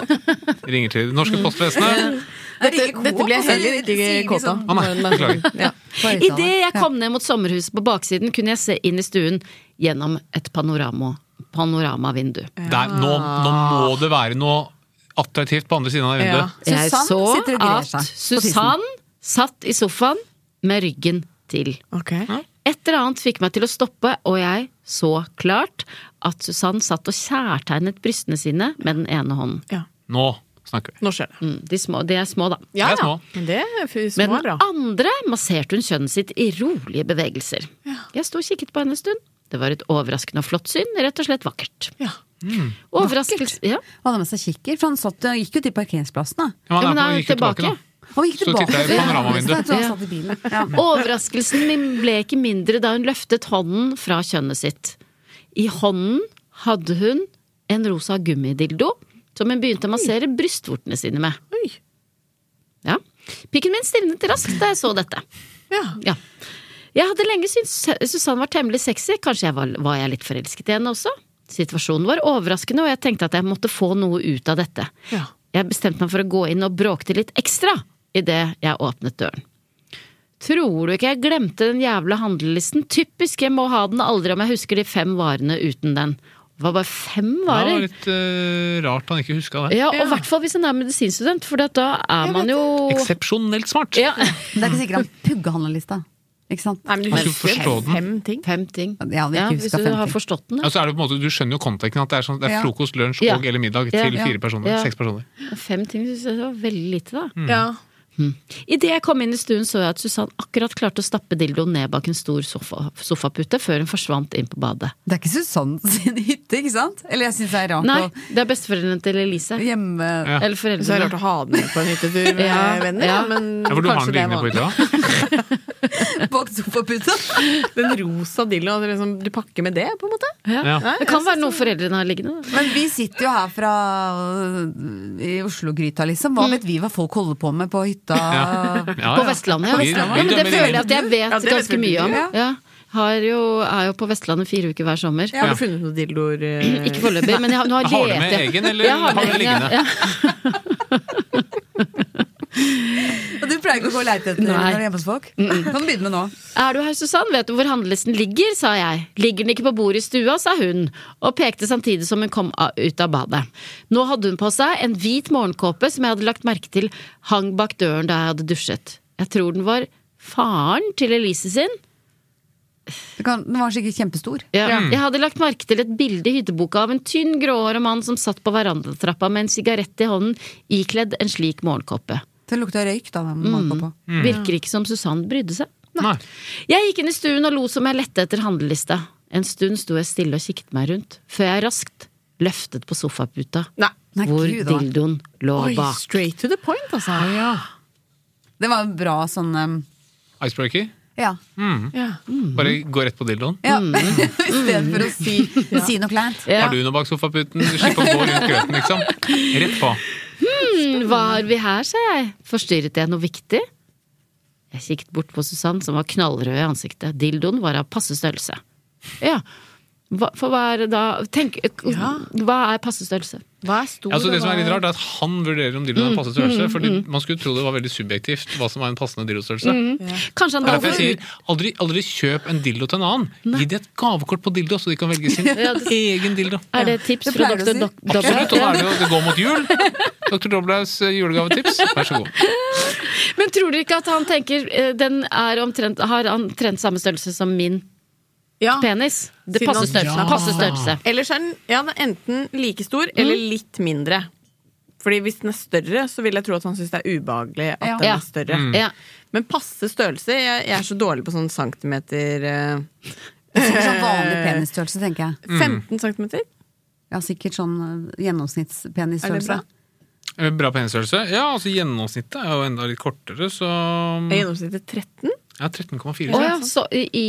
Ringer til det norske postvesenet. Dette, dette blir jeg heller ikke kåt liksom- av. Å Ah, nei, beklager. Ja. Idet jeg kom ned mot sommerhuset på baksiden, kunne jeg se inn i stuen gjennom et panorama, panoramavindu. Der, nå, nå må det være noe attraktivt på andre siden av det vinduet. Ja. Jeg Susann så sitter og grer at seg på tissen. Susann satt i sofaen med ryggen til. Ok. Et eller annet fikk meg til å stoppe, og jeg så klart at Susann satt og kjærtegnet brystene sine med den ene hånden. Ja. Nå snakker vi. Nå skjer det. Mm, De, små, de er små, da. Det er små. Men det er f- små Med er den bra. andre masserte hun kjønnet sitt i rolige bevegelser. Jeg sto og kikket på henne en stund. Det var et overraskende og flott syn. Rett og slett vakkert. Ja. Overraskelse ja. Han hadde med seg kikker, for han satt, og gikk jo til parkeringsplassen. da. Ja, men Ja, men da da er gikk jo tilbake. tilbake, da. Og gikk Så tilbake. tittet jeg i Ja, [LAUGHS] panoramavinduet. så jeg tror han satt i bilen. Ja. Overraskelsen min ble ikke mindre da hun løftet hånden fra kjønnet sitt. I hånden hadde hun en rosa gummidildo som hun begynte å massere brystvortene sine med. Oi. Ja. Pikken min stivnet raskt da jeg så dette. Ja. Ja. Jeg hadde lenge syntes Susann var temmelig sexy. Kanskje jeg var, var jeg litt forelsket i henne også? Situasjonen var overraskende, og jeg tenkte at jeg måtte få noe ut av dette. Ja. Jeg bestemte meg for å gå inn og bråkte litt ekstra idet jeg åpnet døren. Tror du ikke jeg glemte den jævla handlelisten? Typisk, jeg må ha den aldri om jeg husker de fem varene uten den. Det var bare fem Ja, Det varer? var litt eh, rart han ikke huska det. Ja, og i hvert fall hvis en er medisinstudent, for da er man jo Eksepsjonelt smart! ja. Det er ikke sikkert han pugga handlelista. Ikke sant? Nei, men du Man skulle husker forstå den. fem ting. Fem ting. Jeg hadde ikke Ja, husket hvis du fem har ting. forstått den, Ja, så er det på en måte, Du skjønner jo konteksten. at Det er, sånn, det er Ja. frokost, lunsj Ja. og eller middag Ja. til fire personer. Ja. Seks personer. Fem ting syns jeg var veldig lite, da. Mm. Ja. Idet jeg kom inn i stuen, så jeg at Susann akkurat klarte å stappe dildoen ned bak en stor sofa, sofapute før hun forsvant inn på badet. Det er ikke Susann sin hytte, ikke sant? Eller jeg syns det er rart Nei, det er besteforeldrene til Elise. å hjemme Eller Så er det rart foreldrene. å ha den med på en [LAUGHS] hyttetur med Ja, venner, ja. men Ja, hvor du har kanskje den det er liggende på vanlig. hytta? [LAUGHS] bak sofaputa. Den rosa dilloen, at du liksom, du pakker med det, på en måte? Ja. Ja. Det kan være noe foreldrene har liggende. da. Men vi sitter jo her fra øh, i Oslo-gryta, liksom. Hva vet vi hva folk holder på med på hytta? Ja. Ja, På ja. Vestlandet, ja. Vi- ja vi men det dømmer føler jeg ingen. at jeg vet Ja, det vet ganske vel du, mye om. ja. Ja. Har jo, er jo på Vestlandet fire uker hver sommer. Har du funnet noen dildoer? eh? Ikke foreløpig, men jeg har, nå har, Har du med lete- egen, eller Jeg har du med- liggende? Ja, [LAUGHS] Og du pleier ikke å gå og leite etter Nei. når du er hjemme hos folk? Kan du begynne med nå? Er du her, Susann? Vet du hvor handlelisten ligger? sa jeg. Ligger den ikke på bordet i stua? sa hun, og pekte samtidig som hun kom a- ut av badet. Nå hadde hun på seg en hvit morgenkåpe som jeg hadde lagt merke til hang bak døren da jeg hadde dusjet. Jeg tror den var faren til Elise sin. Du kan, den var sikkert kjempestor. Ja. Jeg hadde lagt merke til et bilde i hytteboka av en tynn, gråhåret mann som satt på verandatrappa med en sigarett i hånden, ikledd en slik morgenkåpe. Den lukta røyk da den man kom på. Virker ikke som Susann brydde seg. Nei. Jeg gikk inn i stuen og lo som jeg lette etter handlelista. En stund sto jeg stille og kikket meg rundt, før jeg raskt løftet på sofaputa, Nei. Nei, hvor gud, da. dildoen lå Oi, bak. straight to the point, altså. Ja. Det var en bra sånn um, Icebreaker. Ja. Bare gå rett på dildoen. ja. [LAUGHS] I stedet for å si, si noe kleint. Ja. Har du noe bak sofaputen? Slipp å gå [LAUGHS] rundt grøten, liksom. Rett på. Hmm, Var vi her, sa jeg. Forstyrret jeg noe viktig? Jeg kikket bort på Susann, som var knallrød i ansiktet. Dildoen var av passe størrelse. Ja, hva, for hva er det da Tenk, hva er passe størrelse? Hva er stor? Ja, så det og som er hva litt rart, er at han vurderer om dildoen er Mm, passe størrelse. Fordi man skulle tro det var veldig subjektivt hva som er en passende dildostørrelse. Mm. Kanskje han Det er da Derfor jeg sier aldri, aldri kjøp en dildo til en annen. Gi dem et gavekort på dildo, så de kan velge [LAUGHS] sin det- egen dildo. Er det et tips Det fra pleier du å doktor si. Dok- Absolutt, Dobbelt? og da er det jo det går mot [LAUGHS] jul. Dr. Doblaus eh, julegavetips, vær så god. Men tror dere ikke at han tenker eh, den er omtrent, har omtrent samme størrelse som min Ja. penis? Det Siden passer han- størrelse. Passer størrelse. Ellers er den ja, den er enten like stor eller litt mindre. Fordi hvis den er større, så vil jeg tro at han syns det er ubehagelig at Ja. den Ja. er større. Mm. Ja. Men passe størrelse Jeg, jeg er så dårlig på sånn centimeter eh, Sånn Eh. vanlig penisstørrelse, Mm. tenker jeg. 15 centimeter? Ja, sikkert sånn øh, Er det bra? [LAUGHS] gjennomsnittspenisstørrelse. Eh, Bra penisstørrelse? Ja, altså gjennomsnittet er jo enda litt kortere, så Er Gjennomsnittet 13? Ja, 13,4 Å ja, så i, i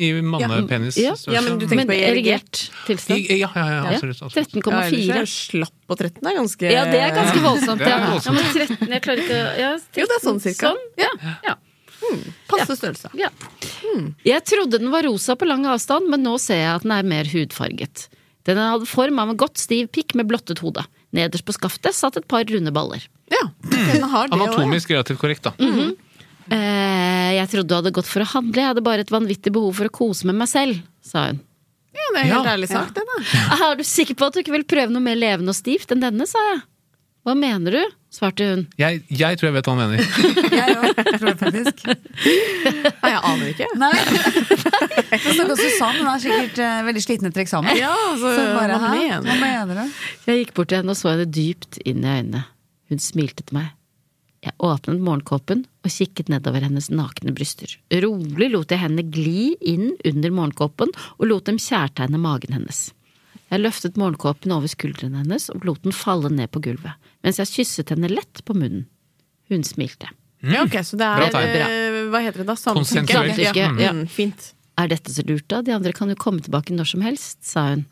i ja, ja. mannepenisstørrelse. Ja, men du tenker på i erigert I- tilstand? Ja, ja, ja, Ja, absolutt. absolutt. 13,4. slapp på 13 er ganske Ja, det er ganske voldsomt. Det er Ja. ja, voldsomt. men 13 Jeg klarer ikke å ja, Jo, det er sånn cirka. Sånn, ja. ja. passe størrelse. Ja. Hmm. Jeg trodde den var rosa på lang avstand, men nå ser jeg at den er mer hudfarget. Den hadde form av en godt stiv pikk med blottet hode. Nederst på skaftet satt et par runde baller. Ja, den har det også, ja. Anatomisk relativt korrekt, da. Eh, jeg trodde du hadde gått for å handle, jeg hadde bare et vanvittig behov for å kose med meg selv, sa hun. ja, det er helt Ja. ærlig sagt, det, da. [LAUGHS] Er du sikker på at du ikke vil prøve noe mer levende og stivt enn denne, sa jeg. Hva mener du? svarte hun. Jeg, jeg tror jeg vet hva han mener. Jeg òg, tror det faktisk. Nei, jeg aner ikke. [LAUGHS] Nei. [LAUGHS] Men så går Susann, hun er sikkert eh, veldig sliten etter eksamen. Ja, altså, Så bare, hva hæ? mener Hva du? mener du? Jeg gikk bort til henne og så henne dypt inn i øynene. Hun smilte til meg. Jeg åpnet morgenkåpen og kikket nedover hennes nakne bryster. Rolig lot jeg hendene gli inn under morgenkåpen og lot dem kjærtegne magen hennes. Jeg løftet morgenkåpen over skuldrene hennes og lot den falle ned på gulvet, mens jeg kysset henne lett på munnen. Hun smilte. Ja, ok, så det Mm. Bra er tegn. eh, Hva heter det da? Konsensuelt. Ja, Ja. mm, fint. Er dette så lurt, da? De andre kan jo komme tilbake når som helst, sa hun.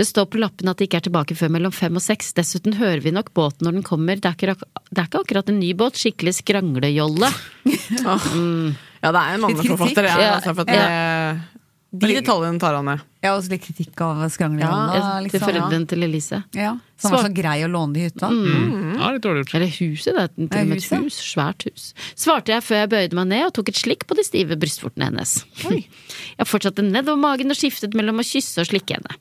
Det står på lappen at de ikke er tilbake før mellom fem og seks. Dessuten hører vi nok båten når den kommer. Det er ikke, ak- det er ikke akkurat en ny båt. Skikkelig skranglejolle. Åh. Ja, det er en kritikk. manneforfatter, det. er, Ja, Altså, for at det de detaljene tar han ned. Jeg har også litt kritikk av skranglejalla. Eh, Til liksom. foreldrene Mm. til Elise. Ja, som var så grei å låne i hytta. Mm, Ja, litt dårlig gjort. Eller huset, det er til og med et huset. hus. Svært hus. Svarte jeg før jeg bøyde meg ned og tok et slikk på de stive brystvortene hennes. [LAUGHS] Jeg fortsatte nedover magen og skiftet mellom å kysse og slikke henne.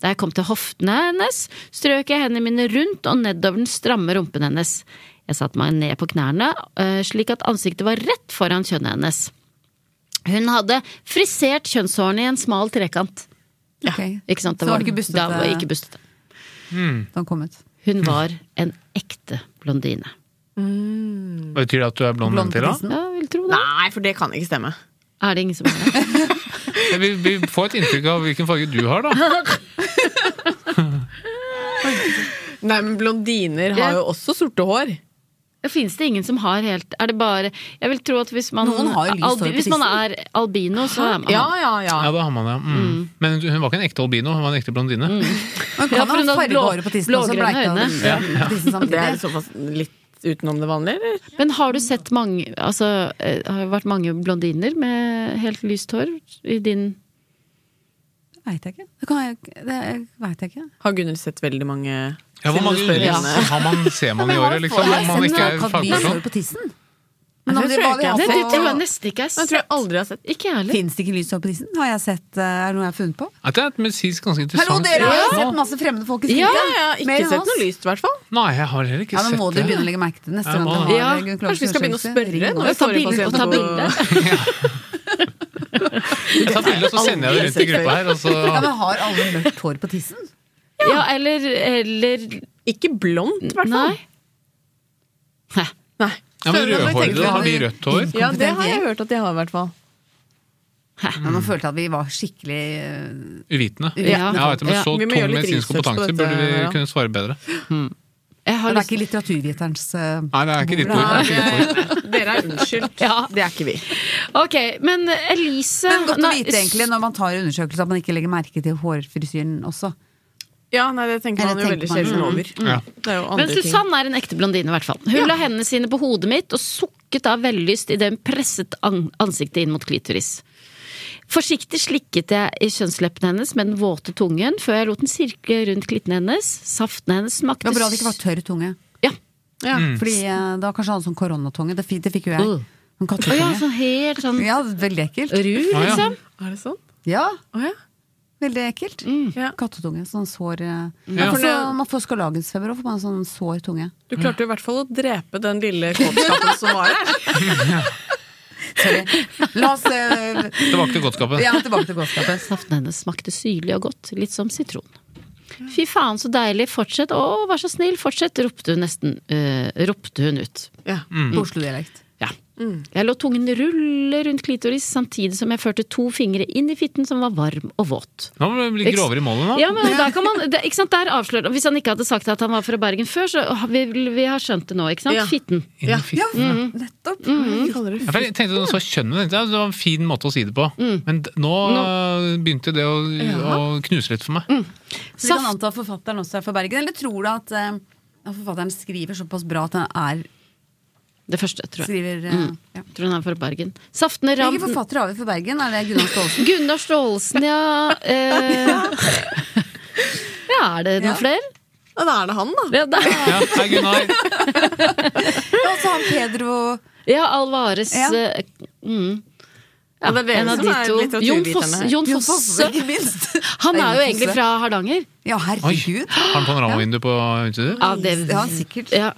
Da jeg kom til hoftene hennes, strøk jeg hendene mine rundt og nedover den stramme rumpen hennes. Jeg satte meg ned på knærne, øh, slik at ansiktet var rett foran kjønnet hennes. Hun hadde frisert kjønnshårene i en smal trekant. Ja. Ikke sant? Da Så var var det ikke den- bustete Da var ikke bustete. da han kom ut. Hun var en ekte blondine. Hva betyr det at du er blond Blond til, da? tissen. Jeg vil tro det. Nei, for det kan ikke stemme. Er det ingen som er det? Vi, vi får et inntrykk av hvilken farge du har, da. Nei, men blondiner Ja. har jo også sorte hår. Fins det ingen som har helt Er det bare Jeg vil tro at hvis man Noen har jo lyst hår på Hvis man tissen. er albino, så er man Ja, ja, ja. Ja, det har man, ja. Mm. Men hun var ikke en ekte albino, hun var en ekte blondine. Man kan Ja, for hun ha hadde farget blå- håret på tissen og så blågrønne bleika det øyne. ja. på tissen [LAUGHS] Det er i samtidig. så fall litt utenom det vanlige, eller? Men har du sett mange Altså, eh, har det vært mange blondiner med helt lyst hår i din Veit jeg ikke. Det, kan jeg, det vet jeg ikke. Har Gunnhild sett veldig mange Ja, hvor mange Siden du spør underliv henne. har man, ser man i året, liksom? Om man ikke er Kan vi hår fagperson? på tissen? Men det om det Det tror jeg ikke. var det han jeg på- har sett. tror jeg nesten ikke jeg Jeg har tror jeg sett. aldri har sett Ikke jeg heller. Fins det ikke lyst hår på tissen? Har jeg sett, eh, er det noe jeg har funnet på? At Det er et medisinsk ganske Hallo, interessant dere har jo Ja. sett masse fremmede folk i Ja, sminke. jeg har ikke Mer enn sett oss. noe lyst, i hvert fall. Nei, jeg har heller ikke Ja, nå sett må du begynne det. å legge merke til det neste Jeg gang må du det. har Ja, eh, Gunn kanskje vi skal begynne å Clarkson-undersøkelse. spørre Ring nå. oss. Jeg Ta får bilde pasienter og ta på- bilde. Jeg tar bilde, og så sender jeg det rundt i gruppa her. Og Ja, så... men har alle mørkt hår på tissen? Ja, eller, eller Ikke blondt, i hvert Nei. fall. Hæ. Nei. Ja, men Skjønner du hva jeg tenker? rødhårede, da har vi rødt hår. Ja, det har jeg hørt at de har, i hvert fall. Ja, nå følte jeg at vi var skikkelig eh, Uvitende. Ja, Ja. vet du, med så Vi må tung gjøre litt research medisinsk på kompetanse dette, burde vi ja. kunne svare bedre. Jeg har Det er lyst ikke litteraturviterens eh, Nei, det er ikke ditt ord. det er ikke ditt ord. Dere er unnskyldt. Ja. Det er ikke vi. Ok, men Elise Men godt å Nei, vite egentlig når man tar undersøkelser at man ikke legger merke til hårfrisyren også. Ja, nei, det tenker Eller man jo tenker veldig man- sjelden over. Mm. Ja. Det er jo andre Men ting. Susann er en ekte blondine, i hvert fall. Hun la hendene sine på hodet mitt og sukket av vellyst idet hun presset an ansiktet inn mot klitoris. Forsiktig slikket jeg i kjønnsleppene hennes med den våte tungen før jeg lot den sirkle rundt klittene hennes. Saften hennes Det smakte var bra det ikke var tørr tunge. Ja. Ja. Fordi eh, da kanskje han sånn koronatunge. Det, fi- det fikk jo jeg. Uh. Sånn Å ja, kattetunge. sånn helt sånn Ja, veldig ekkelt. ru, Å ja. liksom. Er det sånn? Ja, Å ja. veldig ekkelt. Mm. Ja. Kattetunge. Sånn sår Ja. eh, man får så- Man får skarlagensfeber og får man sånn sår tunge. Du Mm. klarte i hvert fall å drepe den lille kåtskapen som var her. Sorry. La oss eh, Tilbake til godskapen. ja, tilbake til [LAUGHS] gåskapet. Saften hennes smakte syrlig og godt, litt som sitron. Fy faen, så deilig. Fortsett. Å, vær så snill, fortsett, eh, ropte hun nesten øh, ropte hun ut. [LAUGHS] Ja. Mm. På Oslo-dialekt. Ja. Jeg lot tungen rulle rundt klitoris samtidig som jeg førte to fingre inn i fitten som var varm og våt. Nå må det bli grovere i målet nå. Ja, men der kan man, det, ikke sant, der avslører Hvis han ikke hadde sagt at han var fra Bergen før, så å, vi, vi har skjønt det nå, ikke sant? Ja. Fitten. Inn i Ja. fitten. Ja, Mm. nettopp. De kaller det Ja, for jeg tenkte når jeg så kjønnet, tenkte jeg, Det var en fin måte å si det på. Men d- nå eh, begynte det å, å knuse litt for meg. Så vi kan anta at forfatteren også er fra Bergen, eller tror du at eh, at forfatteren skriver såpass bra at han er Det første, tror jeg. Mm. skriver eh, ja. Tror han er fra Bergen. Saftene Hvilke ramp forfattere har vi fra Bergen? Er det Gunnar [LAUGHS] Staalesen? Gunnar Staalesen, ja. Eh, ja, er det noen Ja. flere? Ja, da er det han, da. Ja, [LAUGHS] der. Ja, hei Gunnar. Ja, og så han Pedro ja Alvarez. Ja. eh, Mm. Ja, det er dere en av som de er to. Jon litteraturviterne Fosse. her. Jon Jo Fosse. Fosse, ikke minst. Han er Ja, jo Jon egentlig Fosse. fra Hardanger. Ja, Oi, herregud. Har han panoramavindu på utstedet? Ja, det, Ja, sikkert. ja.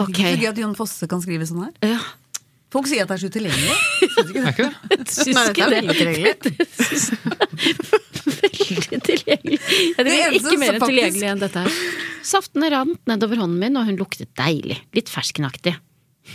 Ok. Ikke så gøy at Jon Fosse kan skrive sånn her. [LAUGHS] Ja. Folk sier at det er så [LAUGHS] utilgjengelig. Er ikke det? Syns Nei, ikke dette er det. veldig tilgjengelig. [LAUGHS] Veldig tilgjengelig. Jeg Det drikker eneste ikke mer som faktisk- tilgjengelig enn dette her. Saftene rant nedover hånden min, og hun luktet deilig. Litt ferskenaktig.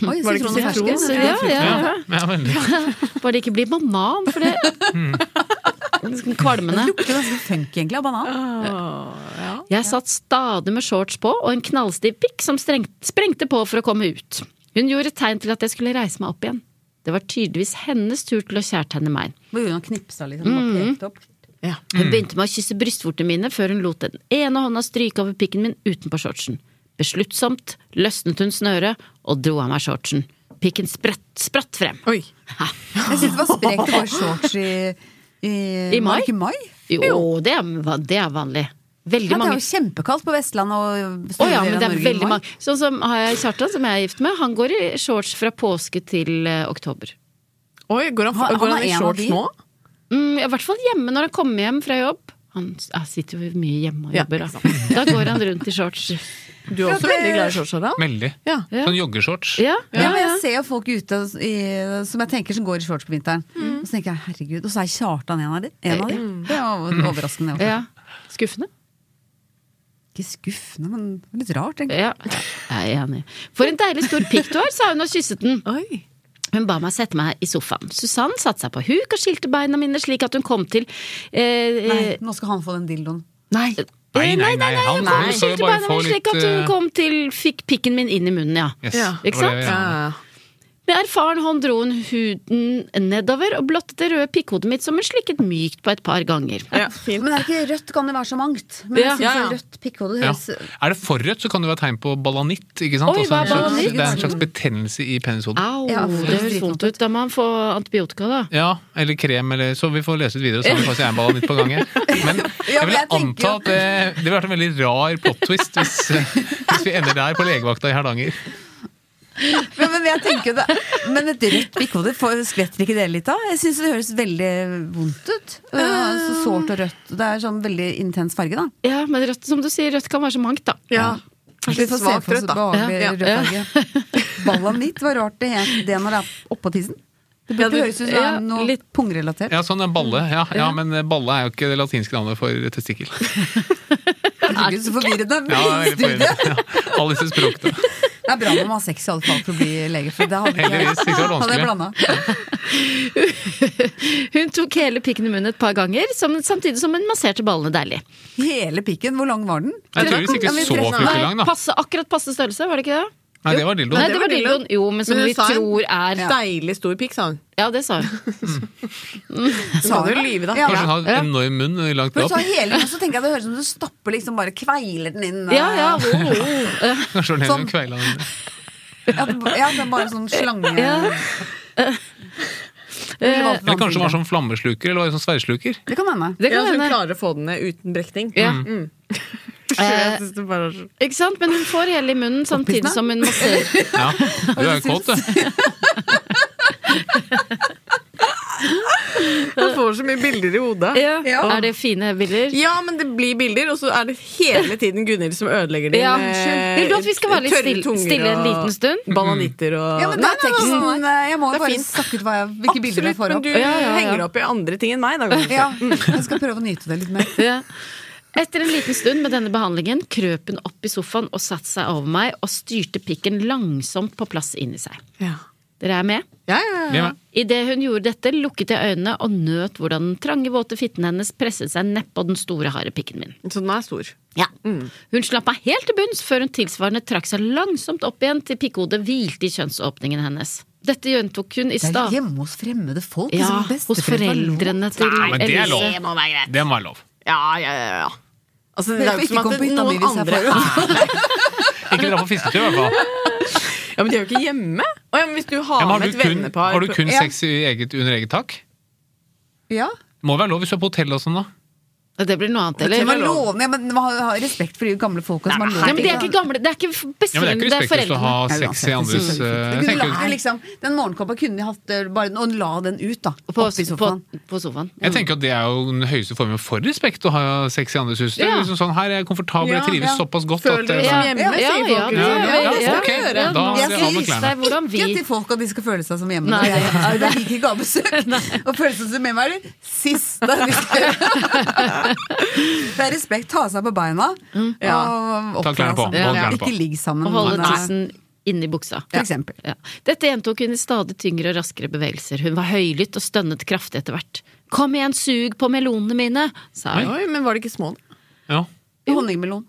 Oi, Var det ikke sitron og fersken? Så ja, ja, Ja, ja. ja, veldig. Bare det ikke blir banan, for det sånn Kvalmende. Det Hmm. lukter ganske funky egentlig av banan. Mm. Jeg satt stadig med shorts på og en knallstiv pikk som strengt, sprengte på for å komme ut. Hun gjorde tegn til at jeg skulle reise meg opp igjen. Det var tydeligvis hennes tur til å kjærtegne meg. Hvor hun knipsa liksom og Mm. pekte opp. Ja. Mm. Hun begynte med å kysse brystvortene mine før hun lot den ene hånda stryke over pikken min utenpå shortsen. Besluttsomt løsnet hun snøret og dro av meg shortsen. Pikken spratt, spratt frem. Oi. Jeg synes det var sprekt å gå i shorts i i, I mai? var det Ikke mai? Jo, det er, va- det er vanlig. Veldig Ja, det er mange. jo kjempekaldt på Vestlandet og Å store ja, men deler det av er Norge i veldig mai. mange. Sånn som har jeg Kjartan, som jeg er gift med, han går i shorts fra påske til eh, oktober. Oi, går han, Han- han går er han i en av shorts de. nå? Mm, I hvert fall hjemme når han kommer hjem fra jobb. Han s- ah, sitter jo mye hjemme og Ja, jobber, ikke da. Da går han rundt i shorts. Du er også veldig glad i shorts, Harald. veldig. Ja. Sånn joggeshorts. Ja, Ja, ja, men ja. Jeg ser jo folk ute i, som jeg tenker som går i shorts på vinteren. Mm. Og så tenker jeg herregud, og så er Kjartan en av de. En av de. Det er jo overraskende. det ja. også. Skuffende. Ikke skuffende, men litt rart. egentlig. Ja, jeg er enig. For en deilig stor pikk du har, sa hun og kysset den. Oi. Hun ba meg sette meg i sofaen. Susann satte seg på huk og skilte beina mine slik at hun kom til eh, Nei, eh, nå skal han få den dildoen. Nei. Nei, nei, nei, Hun han kommer til å skilte bare beina få mine litt slik at hun eh, kom til Fikk pikken min inn i munnen, ja. yes, Ja. det Ikke var sant? det jeg gjorde. Ja. Med erfaren hånd dro hun huden nedover og blottet det røde pikkhodet mitt som hun slikket mykt på et par ganger. Ja, fint. Men er ikke rødt kan det være så mangt. Men Ja. jeg synes Ja, ja. at rødt pikkhode Ja. høres Er det forrødt, så kan det være tegn på balanitt. ikke sant? Oi, Også hva er en slags- balanitt? Det er en slags betennelse i penishodet. Au, Ja, for det høres dritvondt vondt ut. Da må han få antibiotika, da. Ja, eller krem, eller Så vi får lese ut videre, så det faktisk er en balanitt på gang. jeg. Men [LAUGHS] jeg Ja, men vil jeg tenker anta jo- at det, det ville vært en veldig rar plot twist [LAUGHS] hvis, hvis vi ender der på legevakta i Hardanger. Men, men jeg tenker jo det Men et rødt pikkhode, får- skvetter ikke det litt av? Jeg syns det høres veldig vondt ut. Øh, Så sårt og rødt. Det er sånn veldig intens farge, da. Ja, men rødt, som du sier, rødt kan være så mangt, da. Ja. Vi får se Svakt for oss rødt, et da. behagelig Ja, rødt ja. farge. Balanitt, hva rart det het det når det er oppå tissen? Det burde Ja, det- høres ut som det ja, er noe litt- pungrelatert. Ja, sånn en balle. Ja, ja, men eh, balle er jo ikke det latinske navnet for [LAUGHS] testikkel. Herregud, så forvirrende. Ja, [LAUGHS] det er veldig forvirrende. ja. Alle disse språkene. Det er bra man må ha sex i alle fall for å bli lege, for det hadde ikke Heldigvis, ikke så hadde jeg vanskelig. blanda. [LAUGHS] Hun tok hele pikken i munnen et par ganger, som, samtidig som hun masserte ballene deilig. Hele pikken, hvor lang var den? Jeg tror visst Ja, ikke men så tretten. fryktelig lang, da. passe, akkurat passe størrelse, var det ikke det? Nei, det var Nei, dildoen. det var dildoen. Jo, men som hun vi sa en tror er ja. Deilig stor pikk, sa hun. det sa hun. Sa kan jo hun lyve, da. Ja. Kanskje hun har en enorm munn langt For du opp. sa hele, så tenker jeg det høres ut som du stapper liksom bare kveiler den inn. Ja, [LAUGHS] ja, øh, oh, oh. Eh, Kanskje hun Sånn. sånn. kveila den. ja, det, ja, det er bare sånn slange Eller kanskje hun var sånn flammesluker, eller var hun sånn sverdsluker. Det kan hende. Det Ja, kan så hun hende. klarer å få den ned uten brekning. Ja. Mm. Så [LAUGHS] jeg synes det bare er så- Ikke sant? Men hun får hele i munnen samtidig Oppissen, som hun masserer. [LAUGHS] Ja, du er jo kåt, du. Man får så mye bilder i hodet. [LAUGHS] Ja. Er det fine bilder? Ja, men det blir bilder, og så er det hele tiden Gunhild som ødelegger det. Ja, med unnskyld. Vil du at vi skal være litt tørre stille- tunger stille en og liten stund? Bananitter og Ja, men det er teksten. øh, Jeg må Det er jo bare fint. snakke ut hva jeg, hvilke bilder jeg Absolutt, får men opp. du Mm. Ja, ja, ja. henger opp i andre ting enn meg. Da, Gunhild. Ja, jeg skal prøve å nyte det litt mer. Ja. Etter en liten stund med denne behandlingen krøp hun opp i sofaen og satte seg over meg og styrte pikken langsomt på plass inni seg. Ja. Dere er med? Ja, ja, Vi er ja. med. Idet hun gjorde dette, lukket jeg øynene og nøt hvordan den trange, våte fitten hennes presset seg nedpå den store, harde pikken min. Så den er stor. Ja. Hun slapp meg helt til bunns før hun tilsvarende trakk seg langsomt opp igjen til pikkhodet hvilte i kjønnsåpningen hennes. Dette gjentok hun i Det er stad. hjemme hos fremmede folk. Ja, liksom, hos foreldrene til Nei, men det er lov. Elise. Det må være greit. Det må være lov. Ja, ja, ja. ja. Altså, det er jo Men ikke ikke som kom at på hytta mi noen hvis jeg andre får- Ikke dra på fisketur, i hvert fall. Ja, Men de er jo ikke hjemme! Å, ja, men hvis du har, Ja, men med har, et du kun, vennepar har du kun Ja. sex i eget, under eget tak? Ja. Det må være lov hvis du er på hotell og sånn, da. Det blir noe annet, Det eller? var lovende, ja, men ha, ha respekt for de gamle folka som har lov Nei, men det er ikke gamle, det er ikke Ja, men det er bestemt, ikke det er respektløst å ha foreldrene. Nei, sex uansett, i andres det eh, Du jeg kunne tenker, lagt den liksom, den morgenkåpa kunne de hatt eh, bare, og la den ut, da. På, oppi på, sofaen. på sofaen. jeg tenker at det er jo den høyeste formen for respekt, å ha sex i andres hus. Det er Ja. liksom sånn, her er jeg komfortabel, Ja, jeg trives ja. såpass godt Føler at dere eh, som hjemme, Ja, ja, sier ja, folk. ja, liksom. ja, det ja, skal vi ok, da gjøre. har Jeg vi av med synes klærne. Det er hvordan vi Ikke til folk at de skal føle seg som hjemme. Nei. Det er- det er like ikke avbesøk. Å føle seg som hjemme er det siste vi skal gjøre. Det er respekt. Ta seg på beina. Og Ta klærne på, oppføre seg. hold klærne på. Ikke ligg sammen. Og holde Nei. tissen inni buksa. For eksempel. Ja. Dette gjentok hun i stadig tyngre og raskere bevegelser. Hun var høylytt og stønnet kraftig etter hvert. Kom igjen, sug på melonene mine, sa hun. Oi, men var det ikke små, da? Ja. Honningmelon.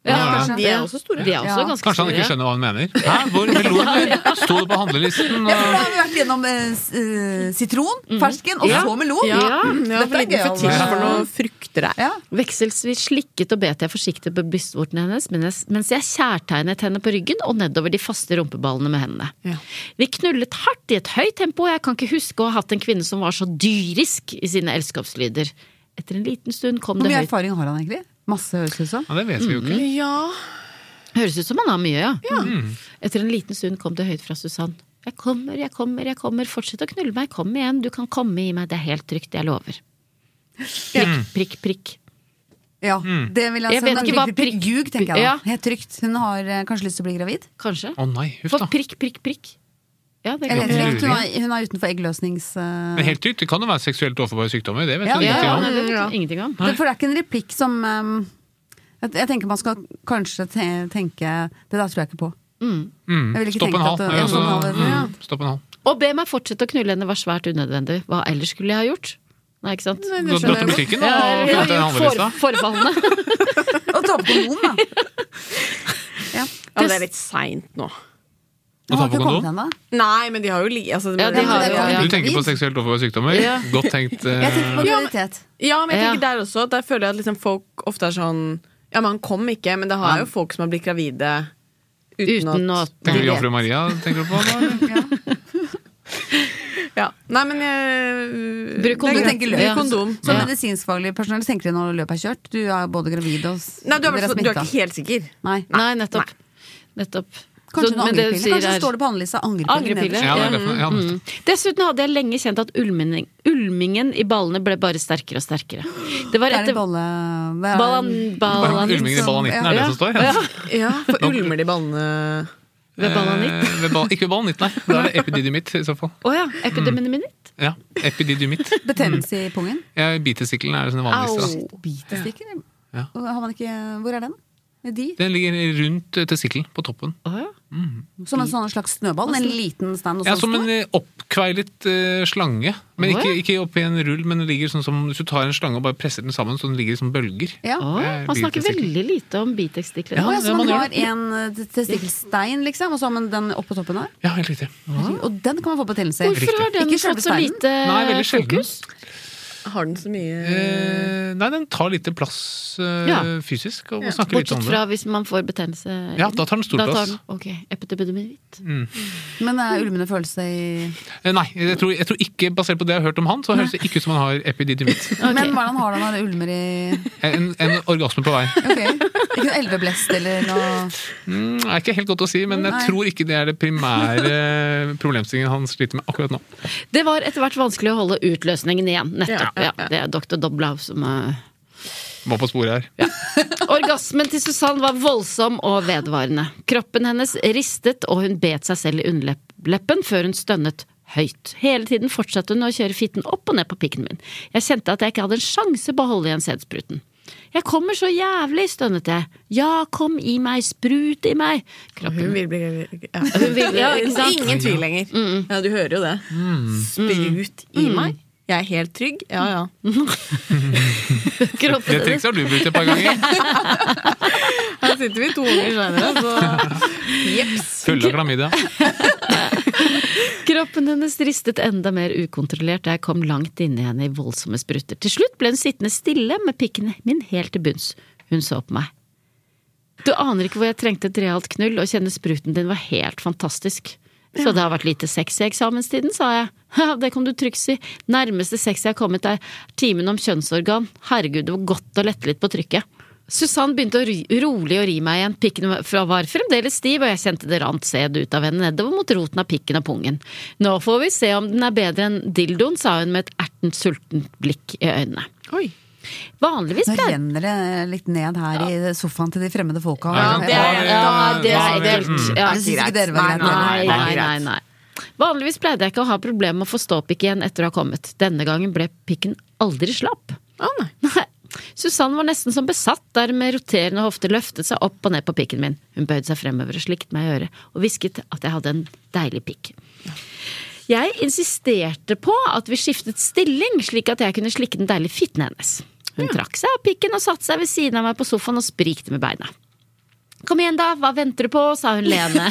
Ja, De er også store. De er også Ja. ganske Kanskje han store. ikke skjønner hva han mener. Hæ, hvor melon sto det på handlelisten? Ja, for da og- har vi vært gjennom eh, s- eh, sitron, fersken, og så melon. Ja, ja. Mm, Jeg har Dette for er liten gøy, fetisj for altså. noe frukter der. Ja. Vekselvis slikket og bet jeg forsiktig på brystvortene hennes mens mens jeg kjærtegnet henne på ryggen og nedover de faste rumpeballene med hendene. Ja. Vi knullet hardt i et høyt tempo, og jeg kan ikke huske å ha hatt en kvinne som var så dyrisk i sine elskapslyder. Etter en liten stund kom Hvor det mye høyt erfaring har han egentlig? Masse, høres det ut som. Ja, det vet vi jo ikke. Ja. Høres ut som han har mye, ja. Mm. Mm. Etter en liten stund kom det høyt fra Susann. Jeg kommer, jeg kommer, jeg kommer. Fortsett å knulle meg. Kom igjen. Du kan komme i meg. Det er helt trygt. Jeg lover. Mm. Prikk, prikk, prikk. Ja, det vil jeg, Jeg si. vet Hun er ikke hva trygg- trygg- prikk- Ljug, tenker jeg da. Ja. Helt trygt. Hun har eh, kanskje lyst til å bli gravid. Kanskje. Å nei, huff Mm-hmm. For da. prikk, prikk, prikk. Ja, det Eller kan helt Ja. trygt. Hun er, hun er utenfor eggløsnings... eh, Men helt trygt, det kan jo være seksuelt overforbare sykdommer, det vet Ja, vi ja, ja, nei, ingenting om. det vet jeg ingenting om. Det, for det er ikke en replikk som ehm, jeg, jeg tenker man skal kanskje te tenke Det der tror jeg ikke på. Mm. Jeg ville ikke Stopp en tenkt at halv. det- Ja, en så- halv, ja. mm, Stopp en halv. Å be meg fortsette å knulle henne var svært unødvendig. Hva ellers skulle jeg ha gjort? Nei, ikke sant? Du har dratt til butikken Mm. da, og Jeg har funnet en gjort for, handleliste? forfallene. Og ta på kondom, Ja, da! det er litt seint nå. Og ta på kondom? ennå. Nei, men de har jo ligget altså, Ja, de men- har jo- ja. ja. Du tenker på seksuelt overforbare sykdommer? Ja. Godt tenkt. eh, Jeg tenker på graviditet. men jeg tenker Ja. der også at der føler jeg at liksom folk ofte er sånn Ja, men han kom ikke, men det har jo folk som har blitt gravide uten, Uten at at eh, Tenker du Jomfru Maria tenker du på? [LAUGHS] da, eller? ja. Nei, men jeg, Bruk kondom. Det er greit. Du tenker løp. Bruk kondom. Som Ja. medisinskfaglig personell tenker de når løpet er kjørt. Du er både gravid og s- Nei, du er, dere vel så- du er smittet. ikke helt sikker. Nei. Nei, nettopp. Nettopp. Kanskje Så- noen men det du angrepiller. sier Kanskje er- står det på handlelista angrepiller. Angrepille. nederst. Ja, det er derfor. Ja, Mm. Dessuten hadde jeg lenge kjent at ulming, ulmingen i ballene ble bare sterkere og sterkere. Det var Det er etter en bolle... Det er, ballan, ballan, Ulmingen i Ballanitten, er det Ja. som [LAUGHS] står? Ja. Ja, for ulmer de ballene ved ballanitt. Eh, ved ball- Ikke ved ballanitten, nei. Da er det epididymitt i så fall. Å ja, epideminitt. Ja, epididymitt. Betennelse i pungen. Jeg biter sikkelen, er det sånn vanligste. da. Bitestikker? Ja. Og Har man ikke... Hvor er den? De? Den ligger rundt eh, testikkelen, på toppen. Å ja. Som en sånn slags snøball? En liten stand? og Ja, sånn Som stor? en eh, oppkveilet eh, slange. Men Å, ikke, ja. ikke oppi en rull, men den ligger sånn som hvis du tar en slange og bare presser den sammen, så den ligger som bølger. Ja. Å, Eh, han snakker bitestikler. veldig lite om bitekstikkler. Ja, Å, ja, det man så man gjør. har en eh, testikkelstein, liksom, og så har man den oppå toppen her. Ja, helt riktig. Og den kan man få betennelse i. Hvorfor har den Ikke fått selve så steinen. lite Nei, veldig sjelden. fokus? Har den så mye Eh, nei, den tar lite plass eh, Ja. fysisk, og man snakker litt Bortsett om fra det. hvis man får betennelse. Ja, da tar den Mm. stor Da plass. den- Ok, epideminitt. Men det er ulmende følelse i Eh, nei, jeg tror, jeg tror ikke, basert på det jeg har hørt om han, så høres det ikke ut som han har epididymitt. Men hvordan har den når det ulmer i En, en orgasme på vei. Ok, Ikke noe elveblest eller noe Mm, er ikke helt godt å si, men jeg Nei. tror ikke det er det primære problemstillingen han sliter med akkurat nå. Det var etter hvert vanskelig å holde utløsningen igjen. Nettopp. Ja, ja, Ja, det er doktor Doblav som eh, Må på sporet her. Orgasmen til Susann var voldsom og vedvarende. Kroppen hennes ristet, og hun bet seg selv i underleppen før hun stønnet høyt. Hele tiden fortsatte hun å kjøre fitten opp og ned på pikken min. Jeg kjente at jeg ikke hadde en sjanse på å holde igjen sædspruten. Jeg kommer så jævlig, stønnet jeg. Ja, kom i meg, sprut i meg. Hun Kroppen vil bli ja. vil- ja, ikke sant? Ingen tvil lenger. Ja, du hører jo det. Sprut i meg. Jeg er helt trygg. Ja, ja. Det kroppen, trikset har du brukt et par ganger. Her sitter vi to unger seinere, så [LAUGHS] Jeps. Fulle av klamydia. kroppen hennes ristet enda mer ukontrollert da jeg kom langt inni henne i voldsomme sprutter. Til slutt ble hun sittende stille med pikken min helt til bunns. Hun så på meg. Du aner ikke hvor jeg trengte et realt knull, og kjenne spruten din var helt fantastisk. Så det har vært lite sex i eksamenstiden, sa jeg. «Haha, Det kan du trygt si. Nærmeste sex jeg har kommet er timen om kjønnsorgan. Herregud, det var godt å lette litt på trykket. Susann begynte å ry, rolig å ri meg igjen. Pikken fra- var fremdeles stiv, og jeg kjente det rant sæd ut av henne nedover mot roten av pikken og pungen. Nå får vi se om den er bedre enn dildoen, sa hun med et ertent, sultent blikk i øynene. Oi. Vanligvis Nå pleier renner det litt ned her i sofaen til de fremmede folka. Ja, det er- Ja, det Ja, er det er- helt mm. ja. Jeg synes ikke dere var greit. Nei, Nei, nei, nei, greit. nei. Vanligvis pleide jeg ikke å ha problemer med å få ståpikk igjen etter å ha kommet. Denne gangen ble pikken aldri slapp. Å, nei. Nei. Susann var nesten som besatt der med roterende hofter løftet seg opp og ned på pikken min. Hun bøyde seg fremover og slikket meg i øret og hvisket at jeg hadde en deilig pikk. Jeg insisterte på at vi skiftet stilling, slik at jeg kunne slikke den deilige fitten hennes. Hun trakk seg av pikken og satte seg ved siden av meg på sofaen og sprikte med beina. Kom igjen, da, hva venter du på? sa hun leende.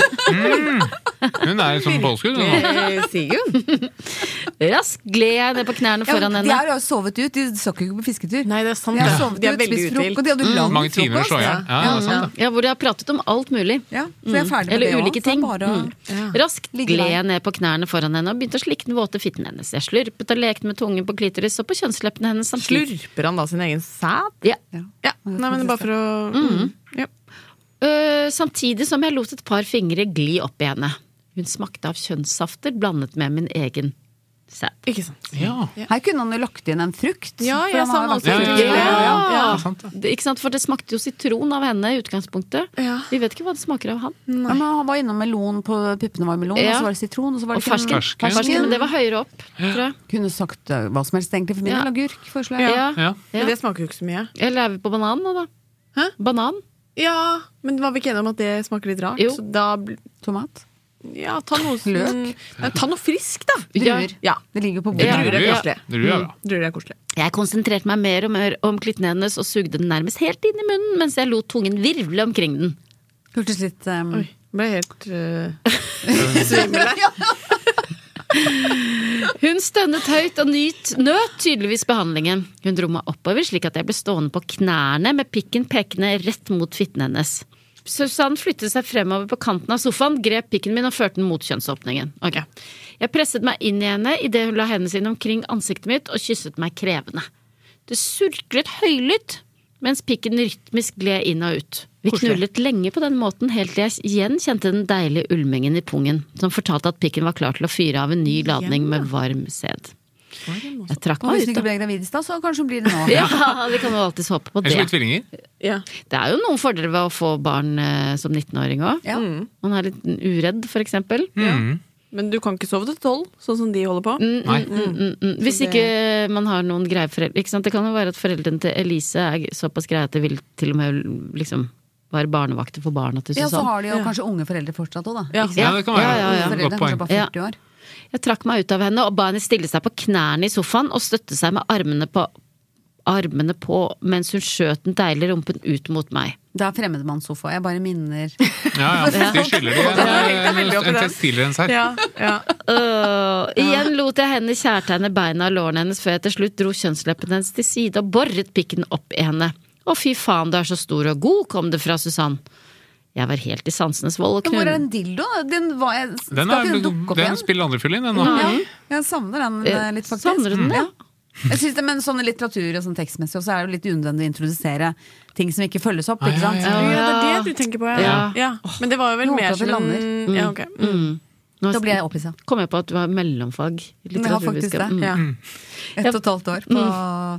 Hun er jo som påskudd. hun nå. Eh, Sigurd? Raskt gled jeg ned på knærne foran de henne. har jo sovet ut, de skal ikke på fisketur. Nei, det er sant. de har det. sovet de er ut, veldig spist uthvilt. frokost, de hadde jo lang Mm. Mange timer å slå i hjel. frokost. Ja, det er sant, det. Ja, altså. hvor de har pratet om alt mulig. Mm. Ja, så jeg er ferdig med Eller det også, ulike så ting. bare å- Mm. Ja. Raskt Ligge gled der. jeg ned på knærne foran henne og begynte å slikke den våte fitten hennes. Jeg slurpet og lekte med tungen på klitoris og på kjønnsleppene hennes samtidig. Slurper han da sin egen sæd? Mm. Ja. Ja, nei, men bare for å ja. Øh, samtidig som jeg lot et par fingre gli opp i henne. Hun smakte av kjønnssafter blandet med min egen sæd. Ikke sant. Ja. Her kunne han jo lagt inn en frukt. Ja, for jeg sa han har jo Liksom. han alltid- også. Ja, Ja, Ja, sant det. Det- Ikke sant? For det smakte jo sitron av henne i utgangspunktet. Ja. Vi vet ikke hva det smaker av han. Ja, men han var innom melon på Puppene var melon, Ja. og så var det sitron, og så var Og det ikke noe- fersken. Fersken. Fersken, Men det var høyere opp, tror jeg. Kunne sagt eh, hva som helst, egentlig, for min Ja. del. Agurk, foreslår jeg. Ja. Ja. Ja. Men det smaker jo ikke så mye. Eller er vi på banan nå, da? Hæ? Banan? Ja, men var vi ikke enige om at det smaker litt rart? Jo. Så da bl- Tomat. ja, ta noe som- Løk? Nei, ta noe friskt, da! Druer. Ja. Det ligger på Ja. bordet. Druer er Druer, koselig. ja. Druer, ja. Mm, Druer er koselig. Jeg konsentrerte meg mer og mer om klitten hennes og sugde den nærmest helt inn i munnen mens jeg lot tungen virvle omkring den. Hørtes litt um, Oi, ble helt eh, [LAUGHS] Hun stønnet høyt og nyt, nøt tydeligvis behandlingen. Hun dro meg oppover slik at jeg ble stående på knærne med pikken pekende rett mot fitten hennes. Susann flyttet seg fremover på kanten av sofaen, grep pikken min og førte den mot kjønnsåpningen. Ok. Jeg presset meg inn i henne idet hun la hendene sine omkring ansiktet mitt og kysset meg krevende. Det surklet høylytt mens pikken rytmisk gled inn og ut. Vi knullet lenge på den måten, helt til jeg igjen kjente den deilige ulmingen i pungen, som fortalte at pikken var klar til å fyre av en ny ladning med varm sæd. Jeg trakk Og hvis meg ut, hun ikke da. ble gravid i stad, så kanskje hun blir det nå. [LAUGHS] Ja, vi kan jo alltids håpe på Ellers blir det. det tvillinger. ja. Det er jo noen fordeler ved å få barn eh, som 19-åring òg. Ja. Man er litt uredd, for eksempel. Men du kan ikke sove til tolv, sånn som de holder på. Nei. Mm, Hvis ikke man har noen greie foreldre ikke sant? Det kan jo være at foreldrene til Elise er såpass greie at de vil til og med liksom være barnevakter for barna til Ja, så Susann. har de jo kanskje unge foreldre fortsatt òg, da. Ja. Ikke sant? Ja, det kan sånn. Ja, være ja, ja. et Foreldre godt kanskje poeng. bare 40 år. Jeg trakk meg ut av henne og ba henne stille seg på knærne i sofaen og støtte seg med armene på, armene på mens hun skjøt den deilige rumpen ut mot meg. Det er fremmedmannssofa. Jeg bare minner Ja, ja. De skylder de en, en, en tekstilrens her. Ja, ja. Øh, [LAUGHS] igjen lot jeg henne kjærte henne beina og lårene hennes før jeg til slutt dro kjønnsleppene hennes til side og borret pikken opp i henne. Å, fy faen, du er så stor og god, kom det fra Susann. Jeg var helt i sansenes vold og [LAUGHS] Men Hvor er knull. den dildo? Den var jeg, skal Den, ikke er, den dukke opp den igjen? spiller andre fyll inn, den nå. Ja, jeg savner den eh, litt, faktisk. Savner du den, ja? Jeg synes det, Men sånn i litteratur og sånn tekstmessig også er det jo litt unødvendig å introdusere ting som ikke følges opp, ikke sant? ja, det er det du tenker på, ja. Ja. ja. Men det var jo vel Jeg håper mer at det som en lander. ja, ok. Mm. Nå Da blir jeg opphissa. kom jeg på at du har mellomfag i Men jeg har faktisk det. litteraturvitenskap. Mm. Ja. Ett og et halvt år på Mm.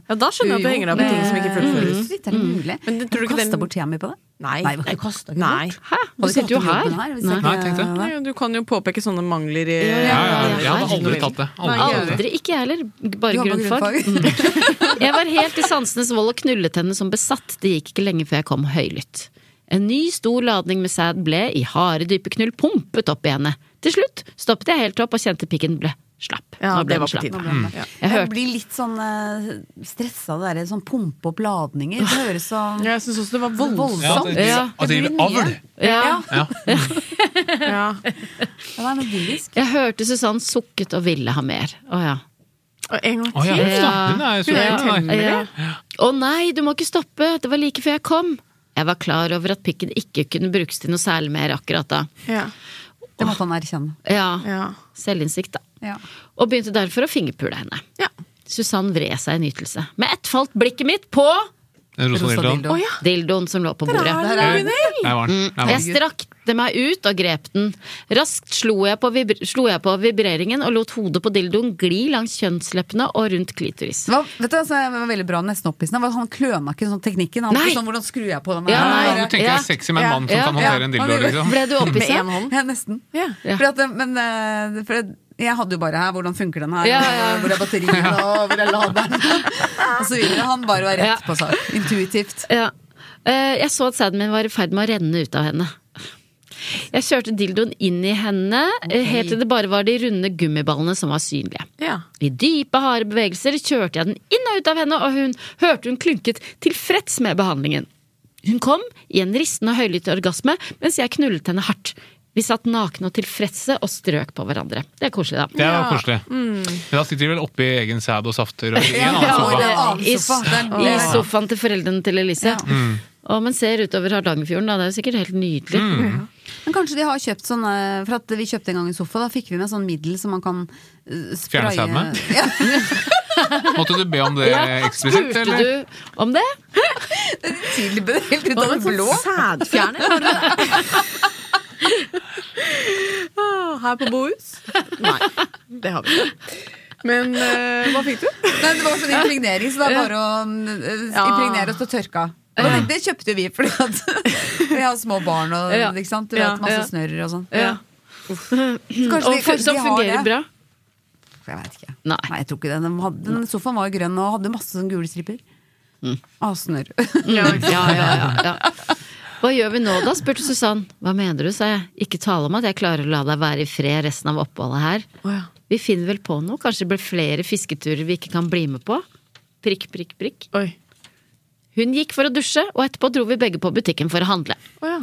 ja, da skjønner jeg at du henger deg på ting som ikke fullføres. Litt er det mulig. Mm. Men det- tror du ikke Kasta den- bort tida mi på det? Nei. Nei, Nei. Det kosta ikke Nei. bort. Hæ? Hadde Du ikke sitter jo hatt her. jobben hvis Nei. ikke- Nei, tenk det. Ja, Du kan jo påpeke sånne mangler i Ja, Ja, ja, ja, ja. jeg hadde aldri tatt det. Aldri. tatt det. Aldri. Ikke jeg heller. Bare Du har bare grunnfag. [LAUGHS] Mm. Jeg var helt i sansenes vold og knullet henne som besatt. Det gikk ikke lenge før jeg kom høylytt. En ny stor ladning med sæd ble, i harde, dype knull, pumpet opp i henne. Til slutt stoppet jeg helt opp og kjente pikken ble slapp. Ja, Nå det ble den var på slapp. tide. Mm. Ja. Jeg Jeg hørte blir litt sånn eh, stressa av det derre sånn pumpe opp ladninger. Det høres så Ja, Jeg syns også det var Ja, voldsomt. at Ja. de- At de Det blir driver mye. avl. ja. Ja. Ja. Ja, det er idyllisk. Jeg hørte Susann sukket og ville ha mer. Å ja. Og en gang Å ja, til. huff da. Hun er jo så Ja. hun er- Ja. Å nei, du må ikke stoppe! Det var like før jeg kom. Jeg var klar over at pikken ikke kunne brukes til noe særlig mer akkurat da. Ja. Det måtte han erkjenne. Ja, Ja. Selvinnsikt, da. Ja. Og begynte derfor å fingerpule henne. Ja. Susann vred seg i nytelse. Med ett falt blikket mitt på En rosa Rosa dildo. dildo. ja. dildoen som lå på bordet. Der er Der var den. Der var Jeg den. strakte meg ut og grep den. Raskt slo jeg, på vibr slo jeg på vibreringen og lot hodet på dildoen gli langs kjønnsleppene og rundt klitoris. Det var, vet du, hva som var veldig bra nesten opphissende. var at Han kløna ikke sånn teknikken. Han var Nei. ikke sånn, hvordan skrur jeg på den Ja, Ja, her? Du tenker Ja. jeg er sexy med en mann som Ja. kan håndtere en dildo, liksom. Ble du Med opphisset? én hånd. Ja, nesten. Ja. Fordi at, det- men eh, for det- jeg hadde jo bare her, hvordan funker den her, Ja, ja. og hvor er [LAUGHS] batteriene, og hvor er laderen, og så videre. Han bare var Ja. rett på sak. Intuitivt. Ja. Eh, Jeg så at sæden min var i ferd med å renne ut av henne. Jeg kjørte dildoen inn i henne eh, helt til det bare var de runde gummiballene som var synlige. Ja. I dype, harde bevegelser kjørte jeg den inn og ut av henne, og hun hørte hun klynket tilfreds med behandlingen. Hun kom i en ristende og høylytt orgasme mens jeg knullet henne hardt. Vi satt nakne og tilfredse og strøk på hverandre. Det er koselig, da. Det var koselig. Mm. Men da sitter de vel oppi egen sæd og safter og i en annen Ja, og sofa. det- annen I, sofa. Det er en I annen. sofaen til foreldrene til Elise. Og man ser utover Hardangerfjorden, da. Det er jo sikkert helt nydelig. Men kanskje de har kjøpt sånne For at vi kjøpte en gang en sofa, da fikk vi med sånn middel som man kan eh, spraye Fjerne sædene? [LAUGHS] Ja, Måtte du be om det eksplisitt, Spurte eller? du om det? tidlig ble det helt ut Og av med det sånn blå. [LAUGHS] sædfjerner. har du det? Ah, Her på Bohus? Nei, det har vi ikke. Men eh, hva fikk du? Nei, det var sånn impregnering, så det er bare å eh, Ja. impregnere oss og tørke av. Men Det kjøpte jo vi, fordi at [LAUGHS] vi har små barn og Ja. ikke sant? Du Ja, vet, masse ja. snørr og sånn. Eh, Ja. Så Kanskje Og Altså, de, for, kanskje som de har det. fungerer bra? Jeg vet ikke. Nei. Nei, jeg tror ikke det. Den, hadde, den sofaen var jo grønn og hadde masse sånn gule striper. Mm. Av snørr. Ja, Mm. ja, ja, ja. Hva gjør vi nå da? spurte Susann. Hva mener du, sa jeg. Ikke tale om at jeg klarer å la deg være i fred resten av oppholdet her. Å, Vi finner vel på noe. Kanskje det blir flere fisketurer vi ikke kan bli med på? Prikk, prikk, prikk. Oi. Hun gikk for å dusje, og etterpå dro vi begge på butikken for å handle. Å ja.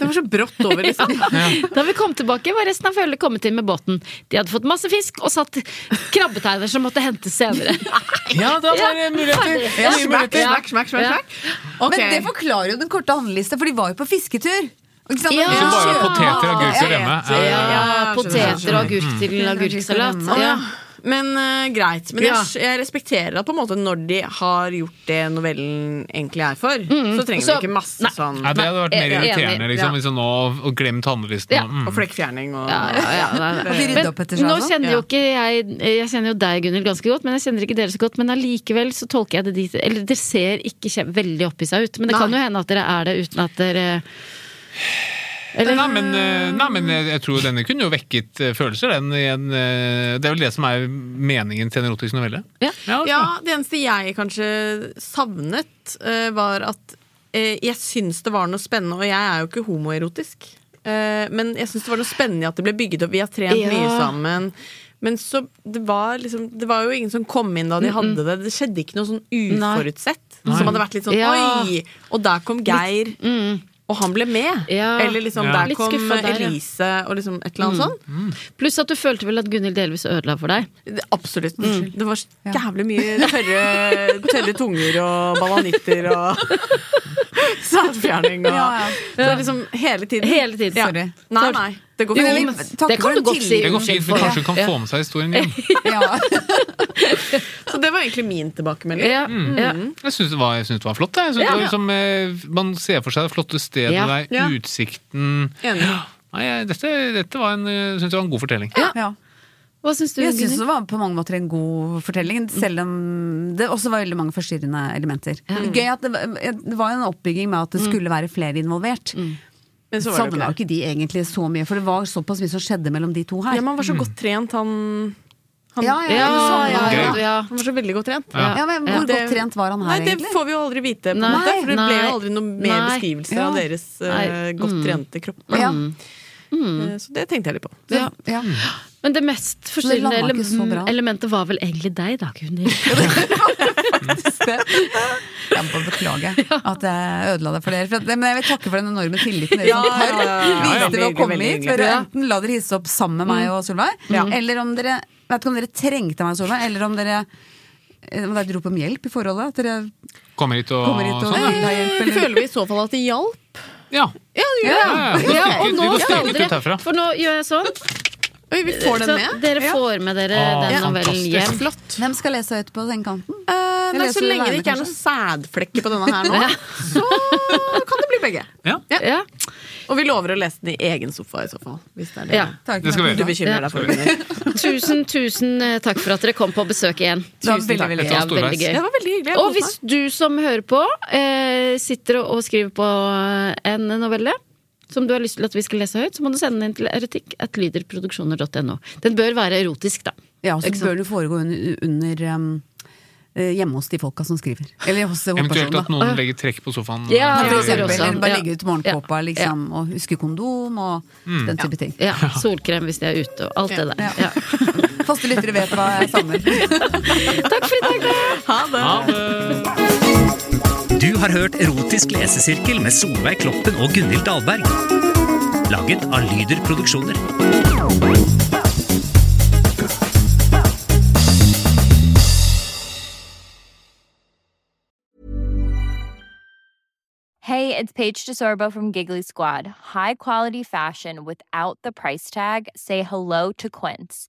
Det var så brått over, liksom. [LAUGHS] [LAUGHS] [LAUGHS] Da vi kom tilbake, var resten av følget kommet inn med båten. De hadde fått masse fisk og satt krabbeteiner som måtte hentes senere. Ja, da var det muligheter. Ja, Nye muligheter. Smack, smack, smack, Ja. smack. Ok. Men det forklarer jo den korte handlelista, for de var jo på fisketur. Ikke sant? Ja. Og de Så Bare kjøpte- poteter og agurker hjemme. Ja, ja, ja. Ja, skjønner, poteter og skjønner. agurk til agurksalat. Å, Ja. ja. Men eh, greit. Men Ja. jeg, jeg respekterer at på en måte når de har gjort det novellen egentlig er for, så trenger Mm. Så- de ikke masse nei. sånn Mm. Ja, det hadde vært mer Enig. irriterende liksom, Ja. hvis jeg nå og glemt handlelisten. Ja. og- Mm. Og flekkfjerning og Ja, ja, ja, nei, nei. At de rydder opp etter seg, nå altså? kjenner jo Ja. ikke jeg eh, Jeg kjenner jo deg, Gunhild, ganske godt, men jeg kjenner ikke dere så godt. Men allikevel så tolker jeg det dit Eller dere ser ikke kjem, veldig opphissa ut. Men det Nei. kan jo hende at dere er det uten at dere Nei, Eller men, eh, nei, men jeg jeg tror denne kunne jo vekket eh, følelser, den. i en, eh, Det er vel det som er meningen til en erotisk novelle. Ja. altså. Ja, det eneste jeg kanskje savnet, eh, var at eh, jeg syns det var noe spennende, og jeg er jo ikke homoerotisk, eh, men jeg syns det var noe spennende i at det ble bygget opp. Vi har trent Ja. mye sammen. Men så, det var, liksom, det var jo ingen som kom inn da de hadde det. Det skjedde ikke noe sånn uforutsett. Som hadde vært litt sånn Ja. mm. oi! Og der kom Geir, og han ble med. Ja. Eller liksom Ja. der Litt kom skuffet der, ja. Mm. Elise, og liksom et eller annet sånt. Pluss at du følte vel at Gunhild delvis ødela for deg. Det- Absolutt. Mm. Det var jævlig [LAUGHS] mye tørre, tørre tunger og balanitter [LAUGHS] og sædfjerning og Ja, ja. Så det er liksom hele tiden. Hele tiden. Mm. Ja. Sorry. Nei, nei. Det går Jo, fint. men- Takk det for kan du godt tillit. si. Det går fint, men kanskje hun kan få med seg historien hjem. Ja. Så det var egentlig min tilbakemelding. Ja, ja. Jeg syns det, var- jeg synes det var flott. Jeg. Jeg synes Ja. det var liksom, eh, man ser for seg det flotte stedet Ja. der, Ja. utsikten Enig. Nei, jeg- dette, dette var en, eh, synes jeg var en god fortelling. Ja. Hva syns du, Jeg syns Gunnhild? det var på mange måter en god fortelling, selv om det også var veldig mange forstyrrende elementer. Gøy at det, var- det var jo en oppbygging med at det skulle være flere involvert. Men så var det jo ikke Savna jo det. ikke de egentlig så mye, for det var såpass mye som skjedde mellom de to her. Ja, man var så godt trent, han, han Ja, ja, Ja, men sånn ja, var det. ja, ja. Han var så veldig godt trent. Ja. Ja, men Hvor Det- godt trent var han her, Nei, det egentlig? får vi jo aldri vite, på en Nei, måte, for det ble jo nei, aldri noe mer nei. beskrivelse Ja. Mm. av deres eh, Nei, godt trente kropper. Ja. Mm. Eh, Så det tenkte jeg litt på. Ja. Ja. Men det mest landa forstyrrende ikke ele så bra. elementet var vel egentlig deg, da, Gunnhild. Jeg må [LAUGHS] beklage at jeg ødela det for dere. For at, men jeg vil takke for den enorme tilliten dere Ja, som har ja, ja, ja. viste ved å Veldig, komme veldig hit. hyggelig. Dere Ja. Mm. enten la dere hisse opp sammen med meg og Solveig, eller om dere jeg vet ikke om dere trengte meg og Solveig, eller om dere om dere rop om hjelp i forholdet. At dere Kommer hit og, kommer hit og sånn, vil ha hjelp. Eller? Føler vi i så fall at det hjalp? ja. Ja, ja, ja. Ja, og nå Vi går stille litt ut dere, herfra. for nå gjør jeg sånn. Oi, vi får Så den med? dere får med dere Ah, den novellen fantastisk. hjem. Flott. Hvem skal lese høyt på den kanten? Eh, nei, leser så det lenge det alene, ikke er noen sædflekker på denne [LAUGHS] her nå, så kan det bli begge. Ja. Og vi lover å lese den i egen sofa i så fall. Hvis det er det Ja. Takk. Det skal vi du gjøre. bekymrer deg for. Gunnhild. [LAUGHS] Tusen, tusen eh, takk for at dere kom på besøk igjen. Det var Tusen veldig, takk. Dette veldig Ja, veldig var storveis. gøy. Det var veldig hyggelig. jeg Og koste meg. hvis du som hører på, eh, sitter og, og skriver på eh, en novelle som du har lyst til at vi skal lese høyt, så må du sende den inn til erotikk.lyderproduksjoner.no. Den bør være erotisk, da. Ja, så bør det foregå under, under um, eh, hjemme hos de folka som skriver. Eller hos Eventuelt hovedpersonen, at da. noen legger trekk på sofaen. Ja, Ja, Eller- for det ser eksempel, også. eller bare Ja. legge ut morgenkåpa, Ja. liksom, og huske kondom og Mm. den type ting. Ja, Solkrem hvis de er ute, og alt det der. Ja. Faste lyttere vet hva jeg savner. Takk for i dag, da! Ha det. Du har hørt Erotisk lesesirkel med Solveig Kloppen og Gunhild Dahlberg. Laget av Lyder Produksjoner. Hey, it's Paige DeSorbo from Giggly Squad. High quality fashion without the price tag. Say hello to Quince.